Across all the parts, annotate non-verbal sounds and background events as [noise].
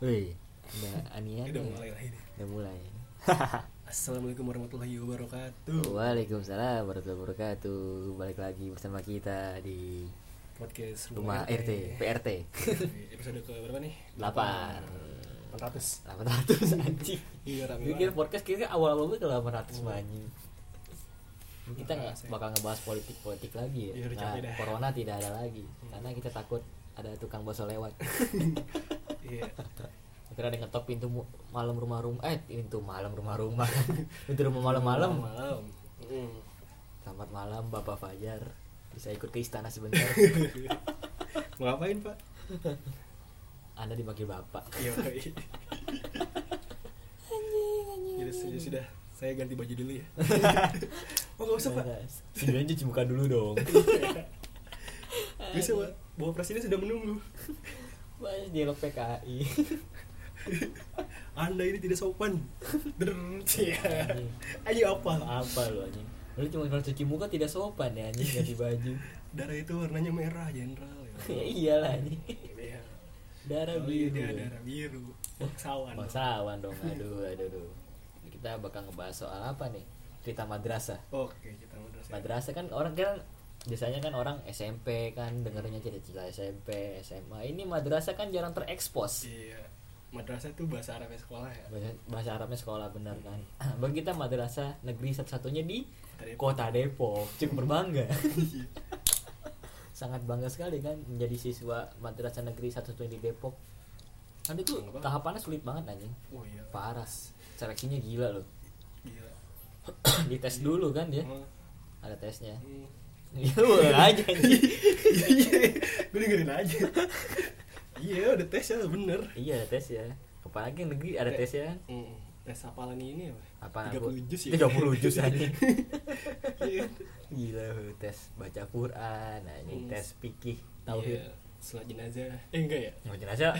Wih, udah anian Udah ya? mulai lah ini. Udah mulai. Assalamualaikum warahmatullahi wabarakatuh. Waalaikumsalam warahmatullahi wabarakatuh. Balik lagi bersama kita di Podcast rumah RT, PRT. [laughs] Episode ke berapa nih? 8 400. 800 anjing. Iya, rame Gue kira banget. podcast kira awal-awal gue udah 800 mah, anjing. Kita Nah, nggak saya- bakal ngebahas politik-politik lagi Iya, ya. udah Nah, capek dah. corona tidak ada lagi karena kita takut ada tukang bakso lewat. Iya. Akhirnya ada yang ngetok pintu mu- malam rumah rumah eh pintu malam rumah rumah. [laughs] pintu rumah malam-malam. [laughs] Malam. Mm. [laughs] Selamat malam Bapak Fajar. Bisa ikut ke istana [laughs] sebentar. Mau ngapain, Pak? Anda dipanggil Bapak. Iya, [laughs] Pak. Jadi sudah, ya sudah. Saya ganti baju dulu [laughs] ya. Oh, nggak usah, Pak. Sebenarnya cuci muka dulu [laughs] dong. Bisa, Pak. Bapak Presiden sudah menunggu. Mas dialog PKI. Anda ini tidak [laughs] sopan. Der. Iya. Ayo apa? Apa lu anjing? Lu cuma bilang cuci muka tidak sopan ya anjing ganti [laughs] baju. Darah itu warnanya merah, Jenderal. ya iyalah anjing. Iya. Darah Oh, iya, biru. dia darah biru. Bangsawan. Bangsawan dong. Aduh, aduh, aduh. Kita bakal ngebahas soal apa nih? Cerita madrasah. Oke, kita madrasah. madrasah kan orang kan biasanya kan orang SMP kan dengarnya cerita-cerita SMP SMA ini madrasah kan jarang terekspos Iya. Madrasah itu bahasa Arabnya sekolah ya. bahasa, bahasa Arabnya sekolah benar kan [clears throat] bagi kita madrasah negeri satu-satunya di Dari kota Depok cukup berbangga [laughs] sangat bangga sekali kan menjadi siswa madrasah negeri satu-satunya di Depok kan itu Bangga banget. tahapannya sulit banget anjing [laughs] Oh iya. parah seleksinya gila loh [clears throat] Gila. dites dulu kan dia Hmm. ada tesnya [laughs] Hmm. ya udah aja [laughs] anjing. Gue dengerin aja. Iya, udah tes ya bener. Iya ada tes ya. Apalagi yang negeri ada tes ya. Hmm. Tes apalan ini ya, apa? Apa 30 juz ya. 30 [laughs] juz aja. Iya. Gila lu, tes baca Quran, nah ini Hmm. tes fikih tauhid. Iya, Setelah jenazah. Eh enggak ya? Mau jenazah.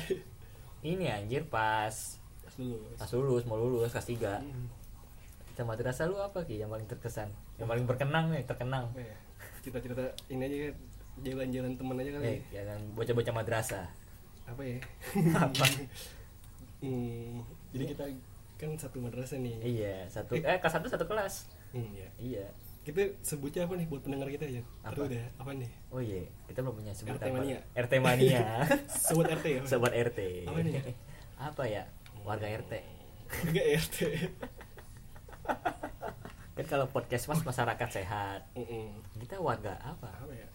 Ini anjir pas Pas dulu. pas lulus mau lulus kelas 3. Hmm. Kita madrasah lu apa Ki yang paling terkesan? Yang paling berkenang nih, terkenang. Apa ya? Cerita-cerita ini aja ya, jalan-jalan temen aja kali. Eh, yang bocah-bocah madrasah. Apa ya? [laughs] Apa? Hmm. Jadi kita kan satu madrasah nih. Iya, satu eh kelas satu satu kelas. Hmm, ya. Iya. Kita sebutnya apa nih buat pendengar kita ya? Apa? Terus deh, apa nih? Oh iya, kita belum punya sebutan RT Mania. Pak. RT [laughs] Mania. Sobat RT ya? Sobat RT. Apa nih? Apa ya? Warga RT. Enggak RT. Kan kalau podcast mas masyarakat sehat. [laughs] Mm-mm. Kita warga apa? Apa ya?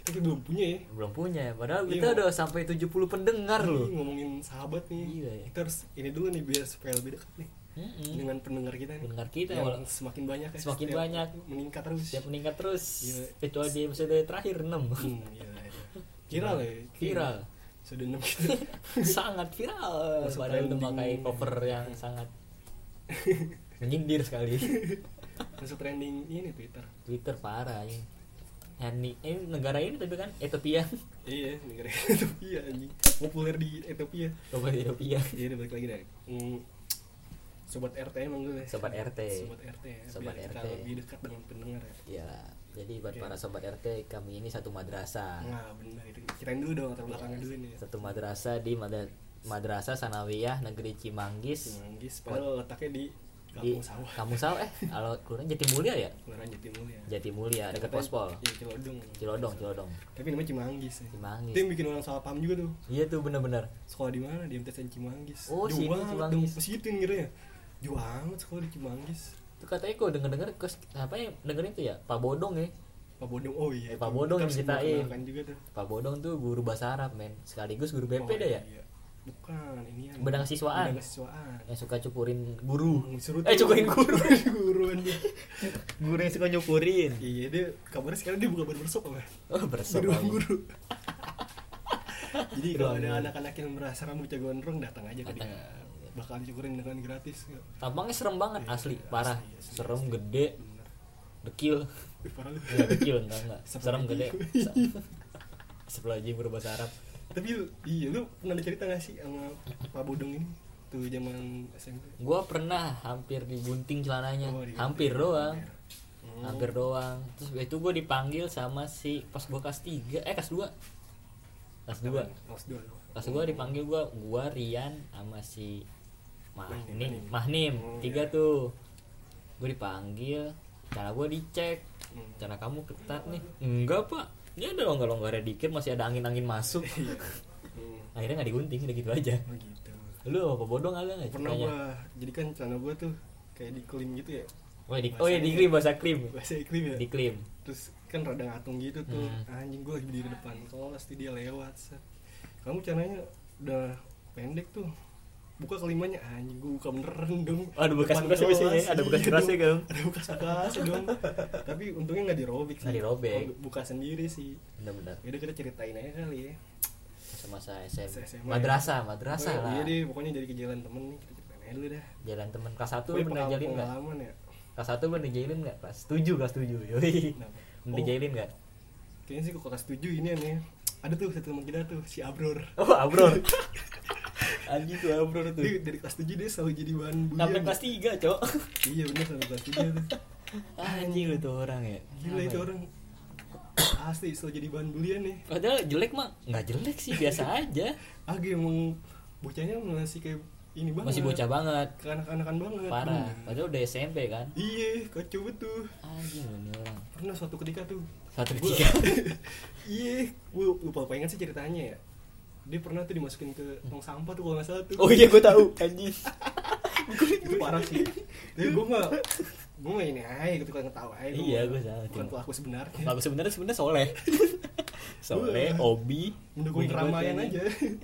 Kita kan belum punya ya. Belum punya. Padahal Iya, kita Mak. udah sampai 70 pendengar Ini loh. ngomongin sahabat nih. Iya ya. Kita harus ini dulu nih biar supaya lebih dekat nih Mm-mm. dengan pendengar kita nih. Pendengar kita Yang wala- semakin banyak ya. semakin setiap banyak. meningkat terus. Setiap meningkat terus. Iya. Kecuali di episode terakhir [laughs] 6. Hmm, iya, iya. Viral ya. gitu. Viral. Sudah enam [laughs] kita. sangat viral. Masuk Padahal udah trending. pakai cover yang sangat menyindir [laughs] sekali. Masuk trending ini Twitter. Twitter parah ini. Ya, ni- eh, negara ini tapi kan Ethiopia. [laughs] Iya, negara ya. [laughs] Ethiopia anjing. Populer di Ethiopia. Coba di Ethiopia. Jadi balik lagi deh. Hmm, sobat RT emang gue. Sobat RT. Sobat RT. Ya. Sobat biar kita RT. lebih dekat dengan pendengar ya. Ya, jadi buat para sobat RT kami ini satu madrasah. Nah, benar itu. Kirain dulu dong latar belakangnya dulu ya. nih. satu madrasah di Madra- madrasah sanawiyah negeri Cimanggis Manggis padahal letaknya di di kampung sawah. kamu Hmm, sawah eh kalau kelurahan Jatimulia ya Kelurahan Jatimulia. Jatimulia dekat Pospol Iya, Cilodong. Cilodong Cilodong Tapi namanya Cimanggis. Ya. Itu Cimanggis yang bikin orang salah paham juga tuh. iya tuh bener-bener Sekolah di mana? Di MTSN Cimanggis. Oh, Jauh sini banget Cimanggis. dong. Pas gitu yang ngira ya. Jauh banget sekolah di Cimanggis. itu katanya kok denger-denger kos apa ya dengerin tuh ya Pak Bodong ya Pak Bodong. Oh iya. Eh, Pak itu. Bodong Kita harus yang ceritain. memperkenalkan juga tuh. Pak Bodong tuh guru bahasa Arab men sekaligus guru BP Oh, dah ya iya. Bukan, ini yang Benang siswaan. Benang siswaan. yang suka cukurin guru Suruh eh Hmm, tuh. cukurin [laughs] guru guru anjing. guru yang suka nyukurin Iya, dia kabarnya sekarang dia buka bar bersop apa? oh Di bersama ruang guru. Jadi kalau Ruang ada guru. anak-anak yang merasa rambutnya gondrong datang aja ke Datang. dia. Bakal dicukurin dengan gratis. tampangnya serem banget Iya, asli iya, parah asli, asli, serem asli. gede Bener. dekil Ih, parah lu. Enggak kecil, enggak enggak. Seperti Serem itu. gede. [laughs] Sebelah aja berbahasa Arab. Tapi lu, iya lu pernah ada cerita gak sih sama Pak Bodong ini? Tuh zaman SMP. Gua pernah hampir digunting celananya. Oh, digunting. Iya, hampir doang. Hmm. Hampir doang. Terus itu gua dipanggil sama si pas gua kelas 3, eh kelas 2. kelas dua kelas dua lu. kelas dua dipanggil gua gua Rian sama si Mahnim Mahnim. Mahnim Oh, tiga iya. tuh gua dipanggil cara gua dicek Hmm. cara kamu ketat nih enggak pak ini ada longgar longgarnya dikit masih ada angin angin [laughs] masuk Iya. Hmm. akhirnya nggak digunting udah gitu aja Oh gitu. lu apa bodoh nggak nggak Pernah gua jadi kan celana gua tuh kayak dikelim gitu ya. oh, di, oh iya diklim bahasa krim Bahasa iklim ya. diklim Terus kan rada ngatung gitu tuh. Hmm. Anjing gua lagi berdiri depan kelas tuh dia lewat. Set. Kamu celananya udah pendek tuh. Buka kelimanya anjing gua buka beneran dong. Oh, ada Depan bekas-bekasnya biasanya ya? kelas. Ada bekas Iya kerasnya dong. dong? Ada bekas-bekas dong. Tapi untungnya nggak dirobek sih. Nggak dirobek. Oh, Buka sendiri sih. bener-bener Yaudah kita ceritain aja kali ya. masa SM SMA. madrasah madrasah Pokoknya- ya? Iya lah deh, pokoknya jadi kejadian temen nih kita ceritain aja dulu dah. jalan temen kelas satu Pokoknya lu pernah Oh, iya, pengalaman- jalin nggak pengalaman ya. kelas satu lu pernah jalin nggak kelas tujuh kelas tujuh yoi Kenapa? Oh. pernah jalin nggak Kayaknya sih kok kelas 7 ini aneh. Ada tuh satu teman kita tuh, si Abror. oh abro anjing tuh abro Dia tuh dari kelas 7 dia selalu jadi bahan bulian. sampai kelas tiga cok Iya bener sampai kelas 3 tuh. anjing lu tuh orang ya Gila itu orang. Asli selalu jadi bahan bulian nih. padahal jelek mah nggak jelek sih [laughs] biasa aja Agi emang bocahnya masih kayak ini banget. masih bocah banget Kekanak-kanakan banget. parah Bener. padahal udah SMP kan Iya, kacau banget tuh. anjing lu nih orang Pernah suatu ketika tuh satu Gua- tiga [laughs] Iya, gue lupa lupa ingat sih ceritanya ya. Dia pernah tuh dimasukin ke tong sampah tuh kalau nggak salah tuh. oh iya gua tahu anjing itu parah [laughs] sih. Tapi gue mah gue mah ini aja gitu kan ketawa aja. Iya, mah gua salah, Bukan cuma. pelaku sebenarnya. bagus sebenarnya sebenarnya [laughs] soleh soleh Gua- obi Mendukung bener banget keramaian aja. Gitu. ini.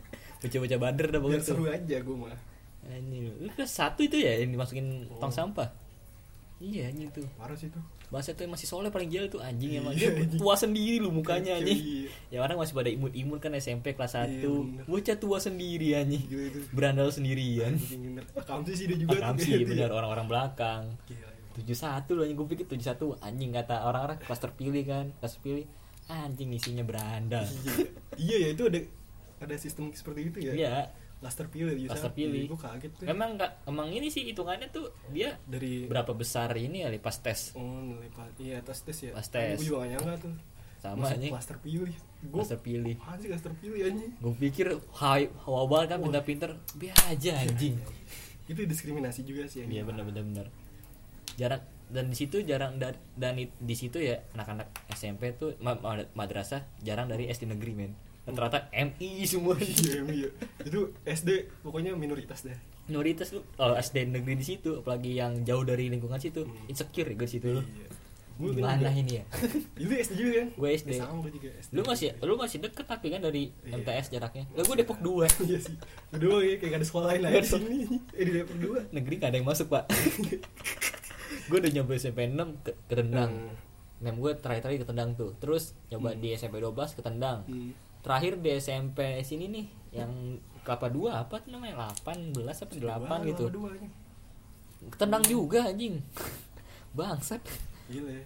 bocah-bocah bader dah [laughs] Biar bagus tuh seru aja gue mah. Anjing, lu kelas satu itu ya yang dimasukin Oh. tong sampah? Iya anjing tuh. Parah sih tuh. Bahasa tuh yang masih soleh paling gila tuh anjing emang dia Iya, anjing. tua sendiri lu mukanya Kacau, anjing. iya. Ya orang masih pada imut-imut kan SMP kelas 1. Iya, bener. Bocah tua sendiri anjing. Gila itu. Berandal sendirian. Anjing, bener. Akamsi sih dia juga. tuh Akam kayak sih dia. benar orang-orang belakang. Gila, ya. 71 emang. lu anjing gue pikir 71 anjing kata orang-orang kelas terpilih kan. Kelas terpilih anjing isinya berandal. Iya. Iya ya itu ada ada sistem seperti itu ya. Iya. Kelas terpilih. Kelas terpilih. Gue kaget tuh. Memang enggak Iya. emang ini sih hitungannya tuh dia Dari berapa besar ini kali pas tes. Oh, nilai pas iya tes tes ya. Pas tes. Gue juga gak nyangka tuh. Sama, Masuk anjing. Kelas terpilih. Gue Pas terpilih. apaan sih kelas terpilih anjing? gue pikir hai hawa banget kan pinter-pinter biar aja anjing Itu diskriminasi juga sih iya anjing. bener bener bener jarak dan di situ jarang da- dan it- di situ ya anak-anak SMP tuh ma- ma- madrasah jarang dari SD negeri men rata-rata MI semua [laughs] [laughs] Iya, emang iya. Itu SD pokoknya minoritas deh. minoritas lu kalau SD negeri di situ apalagi yang jauh dari lingkungan situ Hmm. insecure gue situ lu Iya. Gua kan gimana juga- ini ya Itu SD juga kan? Gua SD. Ya, sama gue juga SD. lu masih lu masih deket tapi kan dari Iya. MTS jaraknya lah E gue Depok dua [laughs] Iya sih. Lu doang ya kayak gak ada sekolah lain Gak aja ada di sini. Eh di Depok dua. negeri gak ada yang masuk [laughs] pak gue udah nyoba SMP 6 ke ketendang Hmm. nem gue terakhir terakhir ketendang tuh terus nyoba di SMP 12 ketendang Hmm. terakhir di SMP sini nih yang kelapa 2 apa tuh namanya 18 apa 8 gitu Dua, anjing. ketendang juga anjing [laughs] bangsat Gila ya.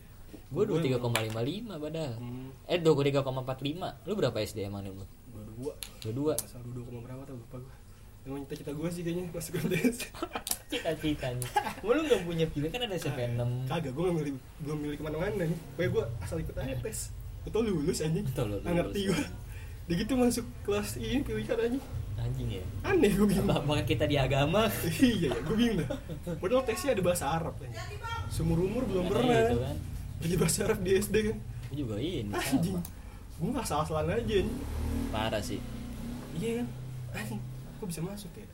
gue Gua emang- 23,55 padahal Hmm. eh 23,45 lu berapa SD emang lu Dua dua. 22 Asal dua koma berapa tau lupa gue. Emang cita-cita gue sih kayaknya masuk MTS. [laughs] [laughs] cita-citanya Gua lu gak punya pilihan kan ada SMP 6 Kagak, gue milih, belum milih kemana-mana nih Pokoknya gue asal ikut aja tes Betul lulus anjing Betul lulus. Nggak ngerti gue Begitu masuk kelas ini pilihan anjing anjing ya Aneh gue bingung apa apakah kita di agama Iya ya, gue bingung dah Padahal tesnya ada bahasa Arab anjing Seumur umur belum Ada pernah gitu kan. Jadi bahasa Arab di SD kan Gua juga ini Anjing sama. Gue gak salah-salah aja anjing parah sih Iya kan Anjing, kok bisa masuk ya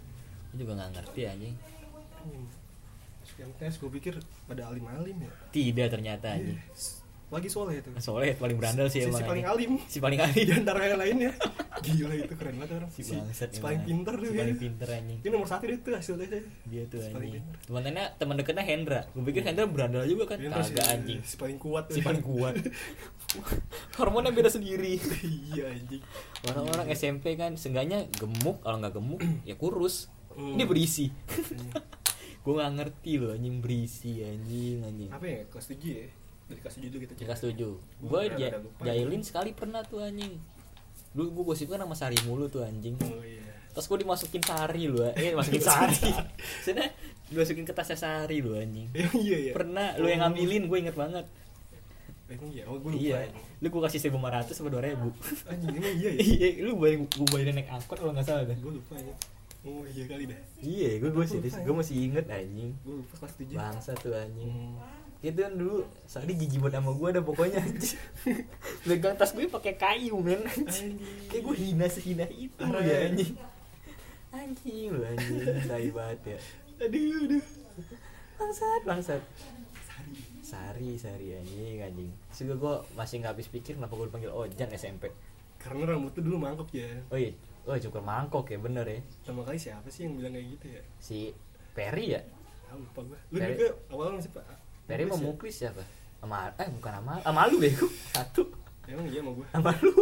Gua juga nggak ngerti anjing Anjing Masuk MTS gue pikir pada alim-alim ya tidak ternyata Iya, anjing Yes. Lagi soleh itu soleh paling berandal sih Iya. Si- si emang paling anjing. alim. [laughs] si paling di alim antara yang lainnya gila itu keren banget orang si bangsat emang. si eh. paling pinter si tuh paling ya. pinter anjing ini nomor satu dia tuh hasilnya dia tuh Si paling anjing pinter. Iya. temannya teman dekatnya Hendra gue pikir Hendra berandal juga kan Dia terus kagak si- anjing si paling kuat si tuh. paling [laughs] kuat hormonnya beda sendiri iya anjing orang-orang Iya. SMP kan seenggaknya gemuk kalau nggak gemuk ya kurus Hmm. Iya. ini berisi [laughs] gue nggak ngerti loh anjing berisi anjing anjing apa ya kelas tujuh ya dari kelas tujuh itu kita Jika setuju Gue Gua rada-rada lupa. jailin sekali pernah tuh anjing Dulu gue gosipkan sama Sari mulu tuh anjing oh iya [laughs] Terus gue dimasukin Sari lu Eh [laughs] masukin Sari Maksudnya dimasukin ke tasnya Sari lu anjing Eh, iya ya Pernah lu yang ngambilin gue inget banget Emang iya, oh gue lupa iya emang. lu gua kasih seribu lima ratus sama dua ribu Anjing emang iya ya [laughs] iya lu bayar gua bayarin naik angkot kalau nggak salah dah Gue lupa ya Oh iya kali dah iya gua gua serius gua masih inget anjing Gue lupa kelas 7 bangsa tuh anjing Hmm. itu kan dulu Sari jijik banget sama gua dah pokoknya [laughs] anjing. pegang tas gue pakai kayu men anjing. kayak gue hina sehina itu Parah, ya ya. anjing anjing lu anjing tai banget ya Aduh aduh bangsat bangsat Sari Sari anjing anjing Terus juga gue masih nggak habis pikir kenapa gue dipanggil Ojan SMP Karena rambut tuh dulu mangkok ya Oh iya, oh cukur mangkok ya bener ya Pertama kali siapa sih yang bilang kayak gitu ya Si Perry ya Ah lupa gue Lu Perry- juga awalnya masih pak Perry mau Muklis ya? muklis siapa? Amar, eh bukan Amar, sama lu bego Satu Emang iya sama gue Sama lu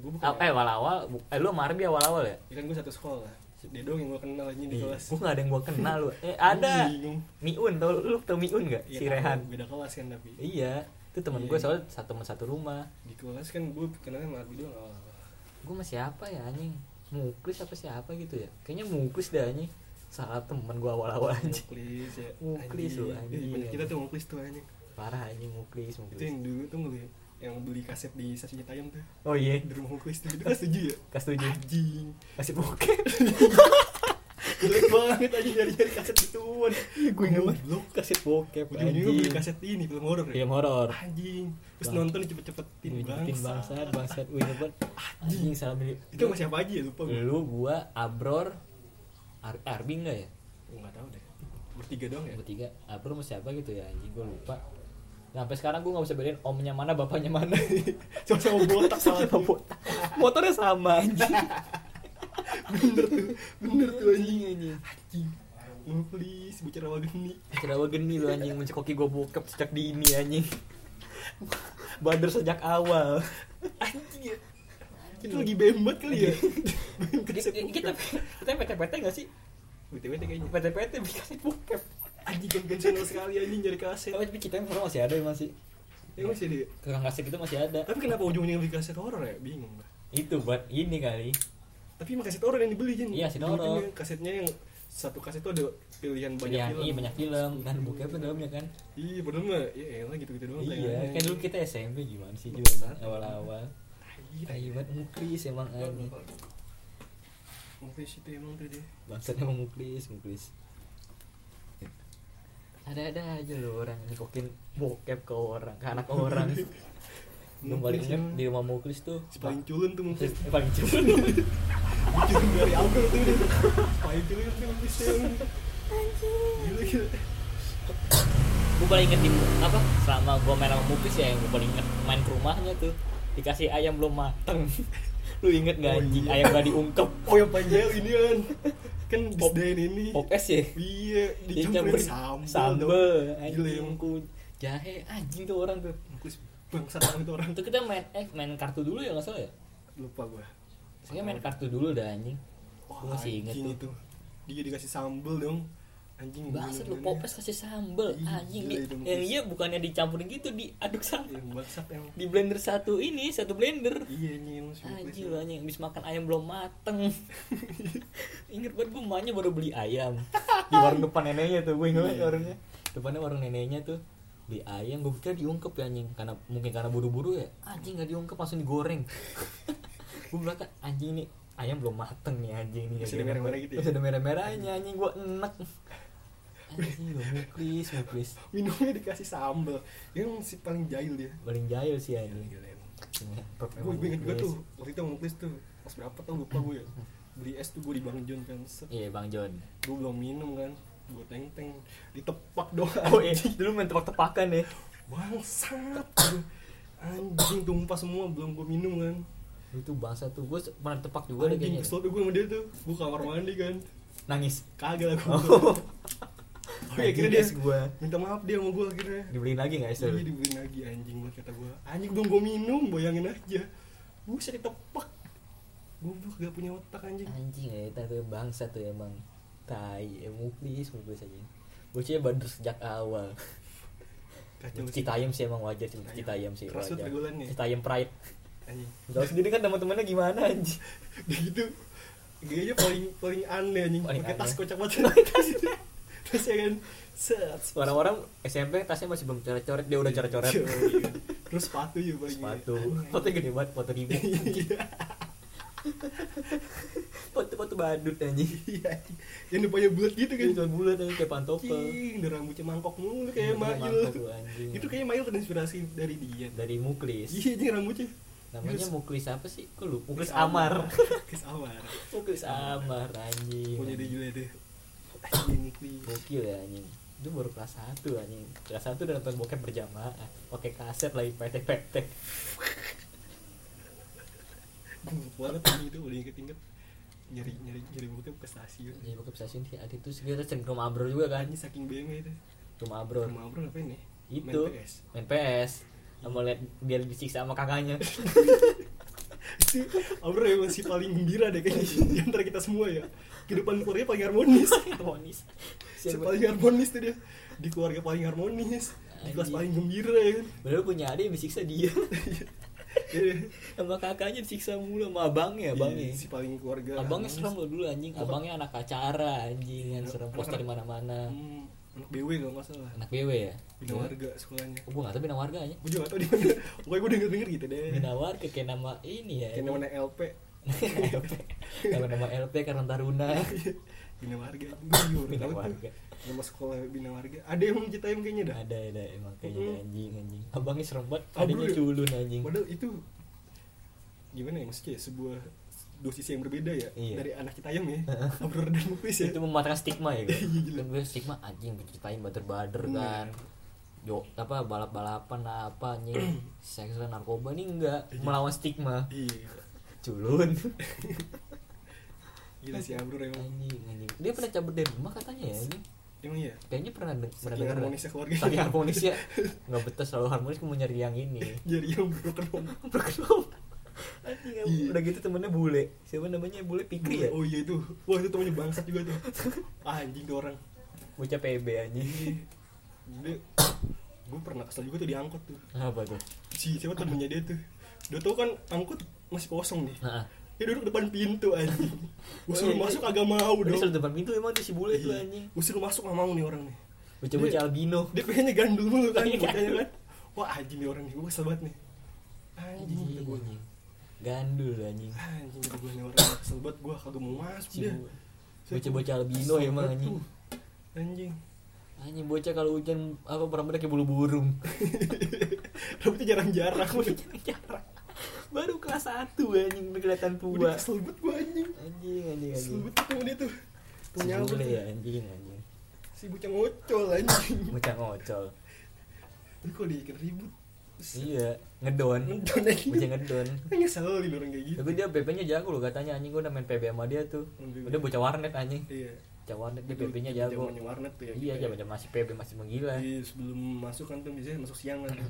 Gue bukan Apa eh awal-awal, bu- eh lu sama Arbi awal-awal ya? Ya kan gue satu sekolah Dia doang yang gue kenal aja di kelas Gue gak ada yang gue kenal lu Eh Iya. ada Bingung. Miun, tau lu tau Miun gak? Iya, Si tahu, Rehan Beda kelas kan tapi Iya Itu temen Iya, gue iya. soalnya satu satu rumah Di kelas kan gue kenalnya sama Ardi doang awal-awal gue masih apa ya anjing muklis apa siapa gitu ya kayaknya muklis deh anjing salah temen gue awal-awal anjing Muklis ya Muklis lu, Anjing. anjing. Iya, bener, Kita tuh muklis tuh anjing parah anjing muklis Itu yang muklis dulu tuh ngeli yang beli kaset di stasiun Citayam tuh oh iya di rumah muklis tuh itu kelas tujuh ya kas tujuh anjing kasih [laughs] bokeh jelek banget aja nyari nyari kaset gituan gue ingat banget. lu kasih bokep ujung ujungnya beli anjing kaset ini film horor Iya, ya film horor anjing terus Bang. nonton cepet cepetin Bikin bangsa bangsat, bangsat, gue inget banget Anjing salah beli itu sama siapa aja ya lupa gue Lu, gua, Abror Ar Arbi enggak ya? nggak tahu deh bertiga doang ya Bertiga, Abror sama siapa gitu ya anjing, gua lupa Nah, sampai sekarang gua gak bisa bedain omnya mana, bapaknya mana sama sama [laughs] botak salah [laughs] Sama botak. Motornya sama anjing bener tuh bener tuh anjing anjing anjing muklis bocah awal geni Kirawa geni lu anjing mencekoki gue bokep sejak dini anjing Bader sejak awal anjing ya itu lagi bembat kali ya Kita eh, kita kita PT-PT gak sih? btw tuh kayaknya PT-PT bikin bokep anjing konvensional sekali anjing nyari kaset Tapi kita yang sekarang masih ada emang sih ya masih ada ya? Tukang kaset itu masih ada tapi kenapa ujung-ujungnya beli kaset horor ya bingung lah Itu buat ini kali tapi emang kaset horor yang dibeli kan Iya, kaset Ujung-ujungnya horor. kasetnya yang satu kaset itu ada pilihan banyak Banyak, film iya, banyak film Dan bokepnya dalamnya kan iya bener mah ya elah gitu-gitu doang ya. Iya Kan tayangannya. dulu kita SMP gimana sih juga Bangsat. Awal-awal Tai, tai. Kayak banget muklis emang anjing Muklis itu emang tuh dia Bangsat emang muklis, muklis. Ada-ada aja loh orang nikokin bokep ke orang, ke anak [laughs] orang. Belum paling Muklis ingat emang. di rumah muklis tuh. si paling culun tuh mungkin Eh, paling [laughs] cuman. culun dari Abel tuh dia paling culun tuh mungkin gila gila gue paling inget di apa? Selama gue main sama muklis ya yang gue paling inget main ke rumahnya tuh dikasih ayam belum mateng. [laughs] Lu inget Oh, gak anjing iya. ayam gak diungkep? oh yang paling jauh ini kan kan Pop- disdain ini Pop es ya? iya dicampurin sambal dong. sambel, gila anjing yang kun jahe anjing tuh orang tuh. muklis bangsat banget tuh orang Itu kita main eh main kartu dulu ya nggak salah ya? lupa gua Saya main kartu dulu dah anjing. Wah, Gua masih inget anjing itu. Dia dikasih sambel dong. Anjing. Bahasa lu bener-bener. popes kasih sambel Ih, anjing. gila Di- itu mungkin. yang Hmm, iya bukannya dicampurin gitu diaduk sama Yang WhatsApp yang. di blender satu ini satu blender. Iya anjing yang si Muklis Anjing itu. lu anjing habis makan ayam belum [laughs] mateng. Ingat banget gue emaknya baru beli ayam [laughs] di warung depan neneknya tuh gue ingat banget Iya. warungnya. Depannya warung neneknya tuh beli ayam gue pikir diungkep ya anjing karena mungkin karena buru-buru ya anjing nggak diungkep langsung digoreng [laughs] gue bilang kan anjing ini ayam belum mateng nih anjing nih Masih ada merah-merah gitu ya? masih ada merah-merahnya anjing gue enek anjing lu muklis muklis Minumnya dikasih sambel. Yang si paling jahil dia. paling jahil sih anjing Gila emang. Ngepep Gue emang inget gue muklis. tuh waktu itu sama Muklis tuh pas berapa tau lupa gue ya. Beli es tuh gue di Bang John kan. iya bang John Gue belum minum kan. Gue teng teng ditepak doang. [laughs] oh iya dulu main tepak-tepakan ya Bangsat. Aduh. Anjing tumpah semua belum gue minum kan. lu tuh bangsa tuh gue pernah tepak juga deh Anjing kayaknya kesel tuh gue sama dia tuh. Gue kamar mandi kan. nangis Kagak lah gue. oh [laughs] akhirnya iya, dia akhirnya dia- Iya, gue minta maaf dia sama gue akhirnya dibeliin lagi nggak sih jadi dibeliin lagi anjing banget kata gue anjing dong gue minum bayangin aja buset ditepak goblok gak punya otak anjing anjing ya itu tuh bangsa tuh emang tai ya muklis muklis aja bocahnya bander sejak awal kacau sih Citayam sih emang wajar sih Citayam sih Keras wajar banget pergaulannya. Citayam pride anjing Tahu sendiri kan teman-temannya gimana anjing. dia gitu gayanya paling paling aneh anjing Paling pakai tas aneh. [laughs] kocak banget terus ya kan set Orang-orang SMP tasnya masih belum coret-coret, dia udah coret-coret. Iya. terus sepatu juga Bang. Sepatu. Aneh. Fotonya gede banget, foto ribu. Iya. Foto-foto badut anjing. iya yang depannya bulat gitu kan Dia cuma bulat anjing kayak pantopel. Cing, udah rambutnya mangkok mulu kayak Rambutnya Mail. mangkok lu, anjing. Itu kayaknya Mail terinspirasi dari dia. Dari Muklis. Iya, dia rambutnya. Namanya Terus- Muklis apa sih? Kok lu Muklis [laughs] Amar. Muklis Amar. Muklis Amar Iya, anjing. Punya dia gila deh. Anjing Muklis. Gokil ya anjing Itu baru kelas 1 anjing Kelas 1 udah nonton bokep berjamaah Pakai kaset lagi pete-pete Walaupun tadi itu udah inget-inget nyari nyari nyari bokep ke stasiun. Jadi Iya, bokep stasiun sih ada itu segera sering ke rumah Abro juga kan Anjing saking beme itu. Rumah Abro Rumah Abro ngapain ya? Main Itu [laughs] PS. Main PS Sama liat dia disiksa sama [laughs] kakaknya Si Abro emang si paling gembira deh kayaknya [laughs] di antara kita semua ya. Kehidupan keluarga paling harmonis. Harmonis Si paling harmonis tuh dia. Di keluarga paling harmonis. Di kelas Anjing. paling gembira ya kan. Padahal punya adik yang disiksa [laughs] dia Iya. Sama kakaknya disiksa mulu Sama abangnya abangnya Iya, si paling keluarga Ya, Abangnya harmonis. serem lo dulu anjing Apa? Iya. Abangnya anak acara anjing Yang serem Anak- poster di mana-mana Hmm, anak BW kalau nggak salah Anak BW ya bina warga sekolahnya Gue gak tau bina warga anjing gue juga nggak tahu di mana pokoknya gue denger denger gitu deh Binawar ke kayak nama ini ya. kayak [laughs] namanya LP Nama nama LP Karang [laughs] Taruna. Iya bina warga [laughs] gue juga Bina baru tahu warga. tuh nama sekolah bina warga ada yang menciptain kayaknya dah Ada ada emang Mm-mm. kayaknya anjing anjing. Abangnya serem banget, Abang adiknya ya? culun anjing. padahal itu gimana ya maksudnya ya, sebuah dosis yang berbeda ya Iya. dari anak kita ayam [laughs] ya Abror dan Muklis ya Itu mematahkan stigma ya. kan? [laughs] Iya, gila. Mm. Kan gue stigma anjing diceritain bader-bader Bener. kan. Jo, apa balap-balapan lah, apa [clears throat] anjing seks dan narkoba nih enggak Iya. melawan stigma iya culun [laughs] gila si Abror emang anjing anjing dia pernah cabut dari rumah katanya ya anjing emang ya kayaknya pernah deng- pernah saking harmonisnya keluarga saking harmonis [laughs] ya nggak betah selalu harmonis mau nyari yang ini jadi yang broken home Berkenom. Anjing, Iya. Udah gitu temennya bule. Siapa namanya bule Pikri ya? Oh iya itu. Wah itu temannya bangsat juga tuh. Ah, anjing tuh orang. Bocah PB anjing. [laughs] Jadi gue pernah kesel juga tuh di angkot tuh. Apa tuh? Si siapa temennya dia tuh. Udah tau kan angkot masih kosong nih. Heeh. Dia duduk depan pintu [laughs] anjing. Gue Oh, suruh iya. masuk agak mau Udah dong. selalu depan pintu emang tuh si bule tuh anjing. Gue suruh masuk gak mau nih orang nih. Bocah-bocah Iya. Dia- albino. Dia pengennya gandul mulu kan. Iya. Bocahnya kan. Wah anjing nih orang nih. Gue kesel banget nih. Anjing kata gue. Anjing. Gandul anjing. Anjing kata gue nih orang. Kesel banget gue kagak mau masuk Si dia. bu- bocah-bocah albino ya, Kesel emang banget anjing. tuh. Anjing. Anjing bocah kalau hujan apa berambutnya kayak bulu burung. [laughs] Rambutnya jarang-jarang. Jarang. Baru kelas 1 anjing udah kelihatan Udah tua. kesel banget gue anjing Anjing anjing Kesel anjing. banget ketemu dia tuh Tuh Si nyamuk bule tuh. iya. ya anjing anjing. Si bocah ngocol anjing Bocah ngocol. Tapi kok dia ikut ribut Iya, ngedon. Ngedon anjing Bocah ngedon. Kan ngeselin orang kayak gitu Tapi dia PP-nya jago loh katanya anjing gua udah main PB sama dia tuh. Enggak. Udah bocah warnet anjing. Iya Bocah warnet dia PP-nya jago. Zamannya warnet tuh ya Iya, kita aja ya. masih PB masih menggila. Iya sebelum masuk kan tuh biasanya masuk siang kan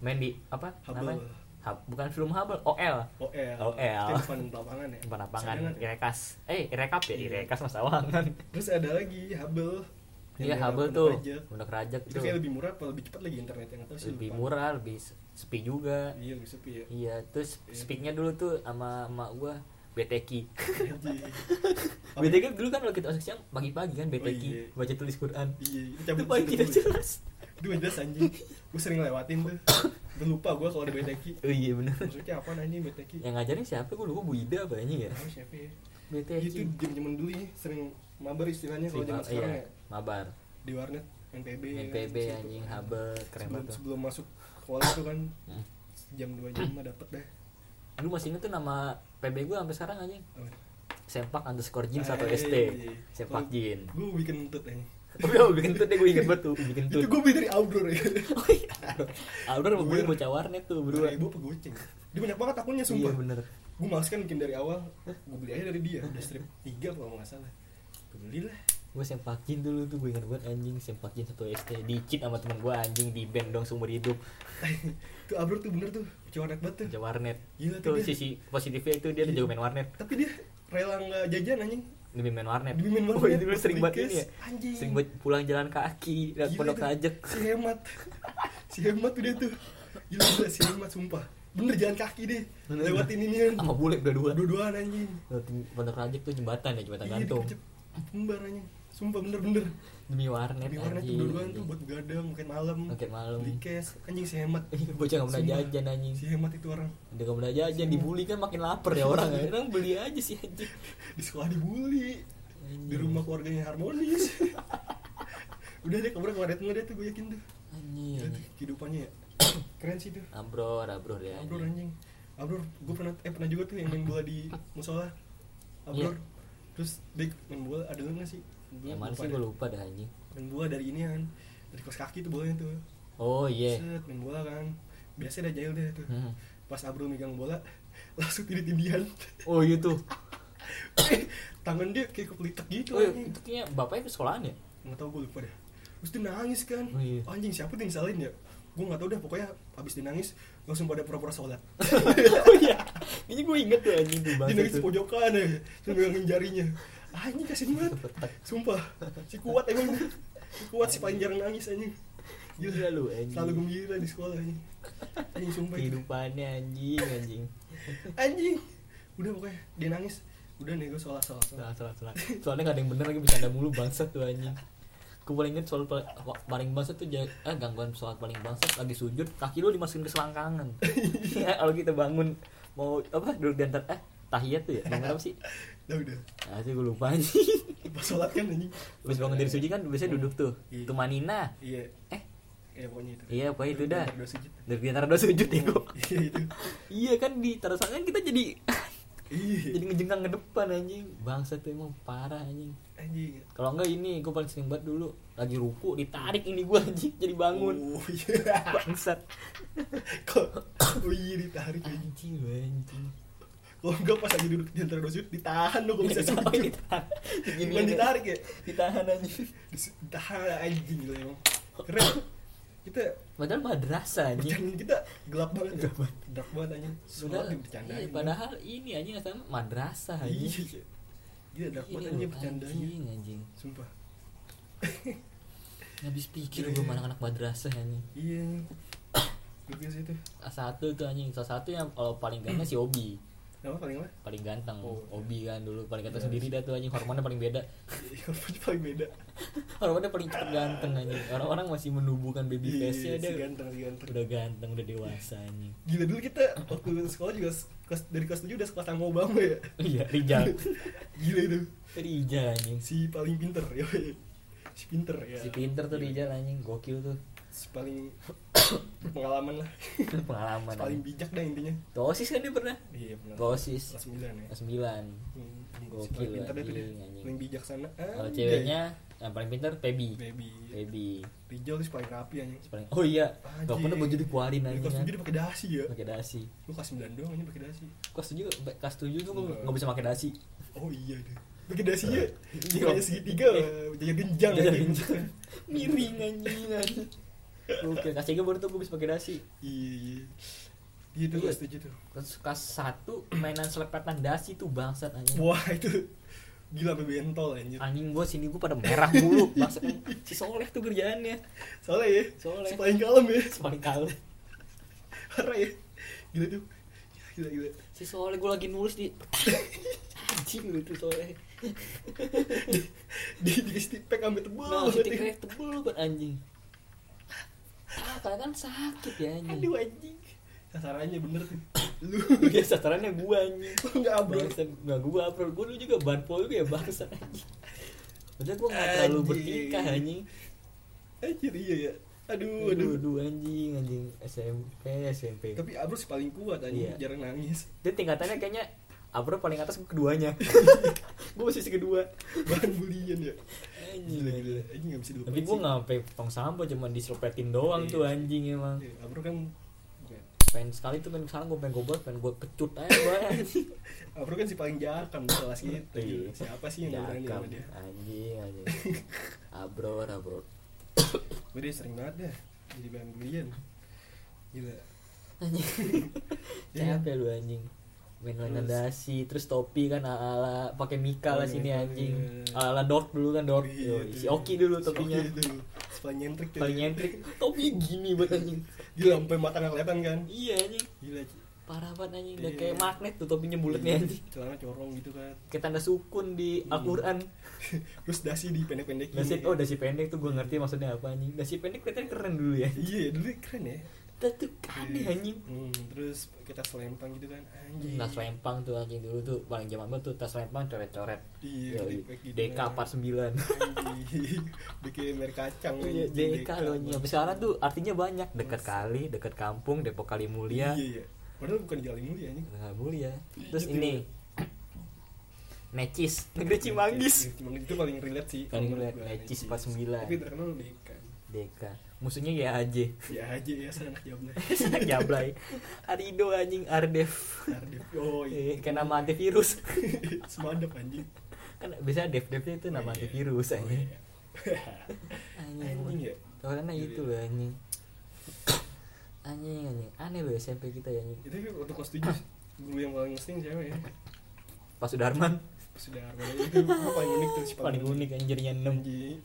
Main di apa? Hubble. Namanya? Hub, bukan film Hubble, OL. OL OL. Kita depan lapangan ya Bukan lapangan, Sayangan ya. Irekas. Eh, Irekap ya, Iya. Irekas Mas Awangan. Terus ada lagi Habel [laughs] Iya, Hubble tuh. Pondok Rajak Itu itu. kayak lebih murah apa lebih cepat lagi internetnya Nggak tahu sih Lebih lupa. murah, lebih sepi juga. Iya lebih sepi ya Iya, terus Iya. speaknya dulu tuh sama emak gua BTK. [laughs] Anjing. BTK dulu kan kalau kita masuk siang pagi-pagi kan iya. BTK baca tulis Quran. Iya itu Itu cabut paling dulu. tidak jelas. itu gak jelas anjing gue sering lewatin tuh Udah lupa gue kalau ada BTK Oh iya benar. maksudnya apa nah, anjing BTK Yang ngajarin siapa? Gue lupa Bu Ida apa anjing ya? Tahu siapa ya itu BTQ. jam jaman dulu ya sering mabar istilahnya kalau zaman Sima- sekarang iya, ya mabar. di warnet NTB ya, NPB situ. anjing Hubble keren sebelum, banget. tuh. sebelum masuk sekolah tuh kan Hmm. jam 2 jam mah dapet deh Dulu masih inget tuh nama PB gue sampai sekarang anjing. Sempak underscore Jin satu Eh, ST. iya. Sempak Kalau- Jin. gue bikin tut anjing Tapi oh, bikin tuh deh gue inget banget tuh bikin tuh. eh. itu gue beli dari outdoor ya Oh iya. Audor mau beli bocah warnet tuh berdua. berdua ibu apa goceng dia banyak banget akunnya Iya sumpah bener. gue males kan bikin dari awal gue beli aja dari dia udah strip 3 kalau nggak salah Gua belilah [laughs] Gue Sempak Jin dulu tuh gue inget banget anjing Sempak Jin satu ST. Dicit sama temen gue anjing di band dong seumur hidup. tuh outdoor tuh bener tuh cowok banget tuh Bocah warnet. Gila tuh Tuh dia. sisi positifnya itu dia Iya. tuh jago main warnet. tapi dia rela nggak jajan anjing demi main warnet Demi [laughs] main warnet. oh, itu dulu sering banget Weekends. ini ya Anjing. sering buat pulang jalan kaki dan Gila pondok itu. rajak si hemat si hemat tuh dia tuh gila gila si hemat sumpah bener jalan kaki deh Bener. lewatin ini sama bule berdua dua-duaan anjing Lewatin pondok rajak tuh jembatan ya jembatan Iya, gantung dikejep- kembar anjing sumpah bener-bener demi warnet di warnet tuh anjing. dua-duaan tuh buat begadang makin malam Makin malam. beli cash anjing si hemat [laughs] Ih, Iya, bocah nggak pernah Sumpah. jajan anjing si hemat itu orang dia nggak pernah jajan dibully kan makin lapar ya orang orang beli aja sih anjing di sekolah dibully di Iya. rumah keluarganya [laughs] harmonis udah deh kabar kemarin tuh dia tuh gue yakin tuh anjing Gila tuh anjing. kehidupannya ya [coughs] keren sih tuh abror abror ya Abror anjing Abror gue pernah eh pernah juga tuh yang main bola di musola Abror Iya. terus dik main bola ada lu nggak sih Gua yang mana sih lupa deh. gue lupa dah anjing main bola dari ini kan dari kos kaki tuh bolanya tuh oh iya set main bola kan biasa ada jail deh tuh Hmm. pas Abror megang bola [laughs] langsung tidit tindian oh iya tuh [coughs] tangan dia kayak kepelitek gitu oh, iya. anjing itu kayaknya bapaknya ke sekolahan ya nggak tahu gue lupa deh terus dia nangis kan Oh, iya. anjing siapa tuh yang salahin ya gue nggak tahu deh pokoknya abis dia nangis langsung pada pura-pura [laughs] [laughs] sholat oh iya ini gue inget tuh anjing tuh dia banget nangis di tuh pojokan ya terus megangin jarinya anjing [laughs] kasihan banget sumpah si kuat emang si kuat si paling jarang nangis anjing Gila lu, anjing. selalu gembira di sekolah anjing anjing gitu. sumpah itu. kehidupannya anjing [laughs] anjing anjing udah pokoknya dia nangis udah nih gue sholat sholat, sholat. salah salah salah soalnya gak ada yang bener lagi bercanda mulu bangsat tuh anjing gue paling inget soal pal- paling bangsat tuh ja- eh, gangguan soal paling bangsat lagi sujud kaki lu dimasukin ke [laughs] selangkangan Ya, kalau kita bangun mau apa duduk di antar eh tahiyat tuh ya dengar apa sih udah Nah, udah ah sih gue lupa anjing pas sholat kan anjing Terus bangun dari sujud kan biasanya duduk tuh Iya. Tumanina iya Eh iya pokoknya itu Iya, pokoknya itu dah. Dua sujud. Dari antara dua sujud ya gua. iya itu [laughs] Iya kan di tarasangan kita jadi [laughs] iya Jadi ngejengkang ke depan anjing Bangsa tuh emang parah anjing anjing Kalau enggak ini gue paling sering banget dulu Lagi ruku ditarik ini gua anjing Jadi bangun oh iya Bangsat kok oh iya ditarik anjing Anjing lu anjing Kalau enggak pas lagi duduk di antara dua sudut ditahan dong kalau bisa Iya, sujud. Bukan ditarik ya. Ditahan anjing Dis- Ditahan anjing gila emang. Keren. Kita Padahal madrasah anjing bercandaan kita gelap banget. ya. Gelap banget anjing. Sudah Padahal- bercandaan. iya, Padahal ini anjing asalnya madrasah iya. anjing iya. Gila gelap banget Ini anjing lu, bercandanya. anjing, anjing Sumpah. habis pikir Iya, gue iya. malah anak madrasah ya, anjing Iya. Bagus itu. Salah satu tuh anjing salah satu yang kalau paling ganteng si Obi Nama paling apa? paling ganteng Oh, iya. Obi kan dulu paling ganteng Iya. sendiri dah tuh anjing hormonnya paling beda [laughs] Hormonnya Iya, paling beda. hormonnya paling cepet ganteng anjing orang-orang masih menumbuhkan baby Iya, face nya si ya, dia ganteng, si ganteng. udah ganteng udah dewasa anjing [laughs] Gila dulu kita waktu sekolah juga kelas dari kelas 7 udah sekelas sama Obama ya. iya Rijal [laughs] Gila itu. Rijal anjing si paling pinter ya si pinter ya si pinter tuh Iya. Rijal anjing gokil tuh [laughs] si paling pengalaman lah pengalaman si paling anjing. bijak dah intinya Tosis kan dia pernah iya benar Tosis kelas sembilan ya sembilan Hmm, si Gokil, paling pinter dah tuh dia anjing, anjing. paling bijaksana Ah, kalau Anjay. ceweknya yang paling pinter Feby baby Feby Rijal tuh si paling rapi anjing Si paling- oh iya Anjing. gak pernah baju dikeluarin Dari anjing kelas kan tujuh dia pakai dasi ya pakai dasi lu kelas sembilan doang anjing pakai dasi kelas tujuh kelas tujuh tuh Enggak. nggak bisa pakai dasi oh iya deh pakai dasinya Iya. jalannya segitiga eh, jajan genjang Jajan anjing. genjang. [laughs] miring anjing anjing oke kelas tiga baru tuh gue bisa pakai dasi iya iya iya tuh Iya. kelas tujuh tuh terus kelas satu mainan selepetan dasi tuh bangsat anjing wah itu gila sampai bentol anjir anjing gue sini gue pada merah mulu bangsat si soleh tuh kerjaannya Soleh ya? Soleh. Si paling kalem ya? Si paling kalem Parah ya? Gila tuh Ya, Gila gila si soleh gue lagi nulis di [laughs] anjing lu tuh soleh Di, dikasih tipek ambil tebal nah si banget tikernya ya. tebel buat anjing ah kadang kan sakit ya anjing Aduh anjing Sasarannya bener tuh Lu [laughs] Iya sasarannya gue anjing Lu gak abro Bangsat, nggak gue upload gue dulu juga banpol juga ya bangsa anjing Padahal gue nggak terlalu Anjing. bertingkah anjing Anjir iya ya Aduh Aduh, aduh aduh anjing anjing SMP SMP Tapi abro si paling kuat anjing Iya. Jarang nangis [laughs] Dia tingkatannya kayaknya Abro paling atas gue keduanya [laughs] Gue posisi kedua Bahan bulian ya Anjing Gila anjing. gila Anjing gak bisa dilupain Iya. Tapi gue nggak sampai tong sampah cuman diselepetin doang Iya. tuh anjing emang Iya, Abro kan bukan. Pengen sekali tuh pengen kesana gue pengen goblok pengen gue kecut aja gue anjing Abro kan si paling jakam di kelas [laughs] gitu Iya. Siapa sih yang gak berani Jakam, sama dia Anjing anjing [laughs] Abro abro Gue dia sering banget dah Jadi bahan bulian Gila Iya. Capek lu anjing main mainan dasi terus topi kan ala ala pakai mika lah Oh, sini mika, anjing iya. ala ala dort dulu kan dort Iya, Yoi, si itu. oki dulu topinya Si Oki dulu. Si paling nyentrik tuh. paling nyentrik topi gini buat anjing Gila sampai mata nggak kelihatan kan? iya anjing Gila. Ci. parah banget anjing udah Iya. kayak magnet tuh topinya bulatnya anjing celana corong gitu kan [laughs] kayak tanda sukun di Iya. Al-Qur'an terus dasi di pendek-pendek dasi oh dasi pendek tuh gue ngerti maksudnya apa anjing dasi pendek kelihatannya keren dulu ya iya dulu keren ya tapi aneh anjing Hmm, terus kita selempang gitu kan anjing tas lempang tuh anjing dulu tuh paling zaman banget tuh tas lempang coret-coret iya Yoi. flipback gitu DK kan. 49 Anjing. [laughs] bikin merek kacang Iya, anjing, DK loh Bang. nyampe sekarang tuh artinya banyak dekat Mas. kali dekat kampung Depok Kali Mulia iya iya padahal bukan jalan mulia anjing Nah, mulia terus Gitu. ini Necis negeri Cimanggis Cuma itu paling relate sih Paling menurut relate, gua, Necis 49. Tapi terkenal DK DK musuhnya ya AJ Ya aja ya sana anak jawabnya [laughs] Sanak jablay Arido anjing Ardev [laughs] Tardif Oh Eh, iya kayak nama antivirus Semadep anjing kan biasanya dev dev itu nama Oh, iya. antivirus Oh, anjing iya. [laughs] Anjing anjing ya karena Iya. itu loh anjing anjing anjing aneh loh SMP kita ya anjing Itu waktu kelas 7 Guru yang paling ngesting siapa ya Pak Sudarman Sudah Arman itu gua paling unik tuh si paling unik anjirnya enam [laughs] Anjing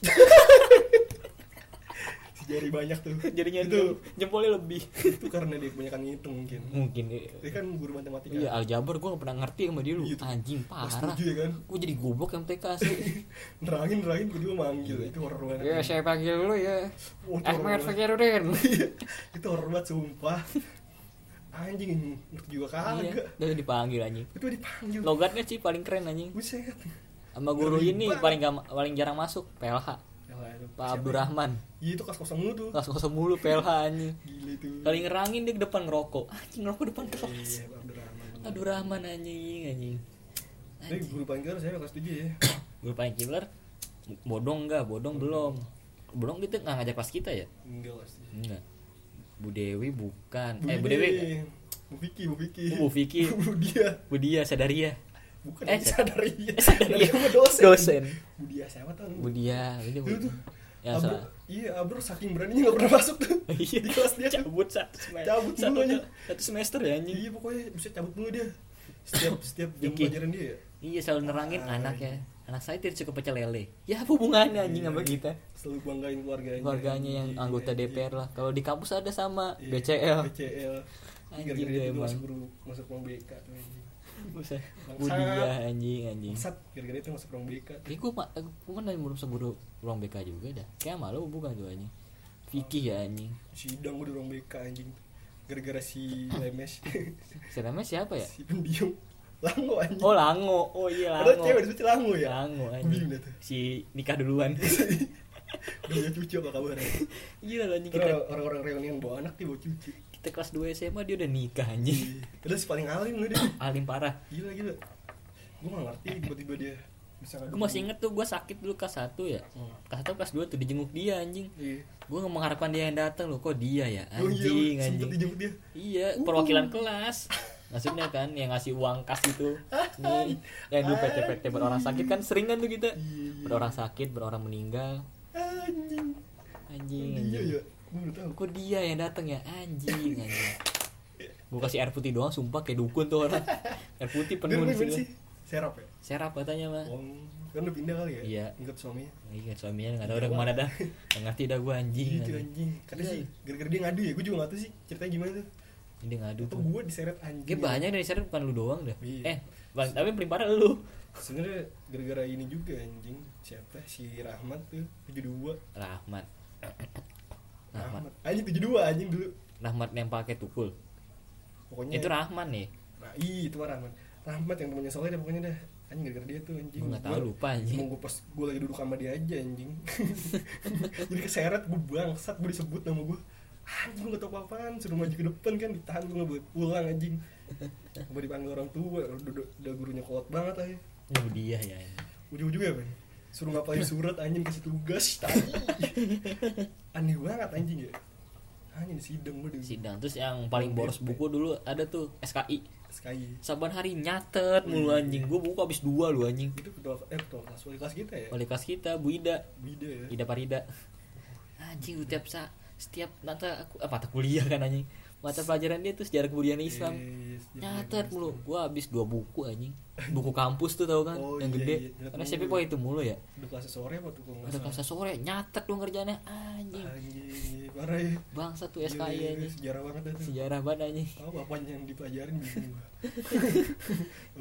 Si jari banyak tuh jadinya Itu- itu jempolnya lebih Itu karena dia kebanyakan ngitung mungkin mungkin Dia kan guru matematika iya aljabar gue gak pernah ngerti sama dia lu Iya tuh. anjing Kelas parah 7 ya kan [laughs] gue jadi goblok MTK sih Nerangin nerangin gue juga manggil Itu horror banget ya saya panggil lu ya Wah, itu horor Ahmad banget. Fakirudin [laughs] Iya, itu horor banget sumpah anjing ngerti juga Iya, kagak dia dipanggil anjing. itu dipanggil Logatnya sih paling keren anjing. buset Sama guru Ngeri ini banget. paling gak, paling jarang masuk PLH. Yalah, Ya itu Pak siapa? Abdurrahman. iya itu kas kosong lu tuh Kelas kosong mulu PLH anjing. gila itu Kali ngerangin dia ke depan ngerokok. Anjing ngerokok depan kelas. iya Pak Abdurrahman Aduh Rahman anjing anjing. Tapi guru panggilan saya kelas 7 ya Guru paling killer bodong enggak? Bodong belum. Bodong gitu nggak ngajak kelas kita ya? enggak kelas Enggak. Bu Dewi bukan. 7 eh Bu Dewi. Iya, Bu Vicky Bu Vicky Bu Vicky. [laughs] Bu Dia Bu Dia Sadaria. bukan Eh, eh, sadari Sadaria. dosen Dosen. Bu Dia siapa tau Bu Dia ini Bu. Itu tuh. Ya Abdur- salah. iya Abdur saking beraninya gak pernah masuk tuh [laughs] Iya. di kelas dia tuh cabut satu semester Cabut satu, dulunya. satu semester ya anjing Iya pokoknya bisa cabut mulu dia. Setiap setiap jam Dikit. pelajaran dia. ya. iya selalu nerangin Ah, anaknya anak saya tidak suka pecel lele ya apa hubungannya anjing sama kita Iya, Selalu banggain keluarganya. keluarganya yang Iya, anggota iya. DPR lah kalau di kampus ada sama Iya, BCL BCL. Anjing Gara-gara dia dia dulu emang. masuk guru masuk ruang BK tuh anjing. Buset. Bangsat. budia anjing anjing Sat, gara-gara itu masuk ruang E BK. Eh, gue mak, gue kan dari belum seburu ruang BK juga dah. Kayak malu bukan tuh anjing. Vicky ya anjing. Sidang gua di ruang BK anjing. Gara-gara si [coughs] Lemes. [laughs] Seramnya siapa ya? si pendiam. Lango anjing. Oh Lango, oh iya Padahal cewek Lango. disebut Lango ya. [laughs] Lango Bingung anjing. dah tuh. Si nikah [laughs] duluan. Udah punya cucu apa [laughs] kabarnya? Gila loh anjing Terus kita Orang-orang reuni yang bawa anak dia bawa cucu. kita kelas 2 SMA dia udah nikah anjing. Terus paling alim lu dia. Alim parah. gila gila gue gak ngerti tiba-tiba dia bisa ngadu Gue masih inget tuh gue sakit dulu kelas 1 ya Hmm. Kelas 1 kelas 2 tuh dijenguk dia anjing iya Gue mengharapkan dia yang datang loh Kok dia ya oh iya anjing sempet Uh. anjing dijemput dia Iya perwakilan kelas Maksudnya kan yang ngasih uang kas gitu Nih yang dulu PT-PT buat orang sakit kan sering kan tuh kita Iya, iya. Buat orang sakit, buat orang meninggal anjing Anjing dia anjing ya gue udah tau Kok dia yang datang ya anjing anjing Gue kasih air putih doang sumpah kayak dukun tuh orang Air putih dia penuh di rumah gimana situ. sih serap ya Serap katanya mah oh kan udah pindah kali ya Iya. ingat suaminya Iya suaminya nggak tahu udah kemana dah Nggak ngerti dah gue anjing, gitu anjing. anjing karena Iya, sih iya. gara-gara dia ngadu ya gue juga gak tau sih ceritanya gimana tuh Ini dia ngadu atau tuh gue diseret anjing Gue banyak dari sana bukan lu doang dah Iya. Eh bang, tapi yang paling parah lu sebenarnya gara-gara ini juga anjing siapa si Rahmat tuh 72 Rahmat Rahmat Rahmat anjing 72 anjing dulu Rahmat yang pakai tukul pokoknya Itu Rahman nih Nah, ih, itu mah Rahmat. Rahmat yang temannya Soleh dah pokoknya dah. Anjing gara-gara dia tuh anjing. Gue nggak tahu lupa Mau anjing gue pas gue lagi duduk sama dia aja anjing. [laughs] Jadi keseret gue bangsat gue disebut nama gue. Anjing gue tau apa-apaan suruh maju ke depan kan ditahan gue nggak boleh pulang anjing. Gue dipanggil orang tua, udah, udah gurunya kolot banget aja. Lu dia ya anjing. Ujung-ujungnya apa? Suruh ngapalin surat anjing kasih tugas tai. [laughs] Aneh banget anjing ya. Anjing di sidang gue di Sidang Terus yang paling boros Iya. buku dulu ada tuh SKI SKI. Saban hari nyatet mulu Iya. anjing Gue buku habis dua lu anjing Itu ketua eh ketua kelas wali kelas kita ya. Wali kelas kita Bu Ida Bida ya. Ida Parida anjing lu tiap sa setiap mata aku eh, mata kuliah kan anjing mata pelajaran dia tuh sejarah kebudayaan Iya, Islam Yes, yes, nyatet yes. mulu gua habis dua buku anjing buku kampus tuh tau kan iya. Oh, yang iya, gede iya. Nyatet karena mulu. SMP gua itu mulu ya Udah kelas sore apa tuh kok nggak udah salah. kelas sore nyatet dong kerjanya anjing Anjing, parah ya. bangsa tuh Iya, iya, SKI iya, anjing Sejarah banget dah tuh. sejarah banget anjing Tahu apa yang dipelajarin bingung [laughs] gua.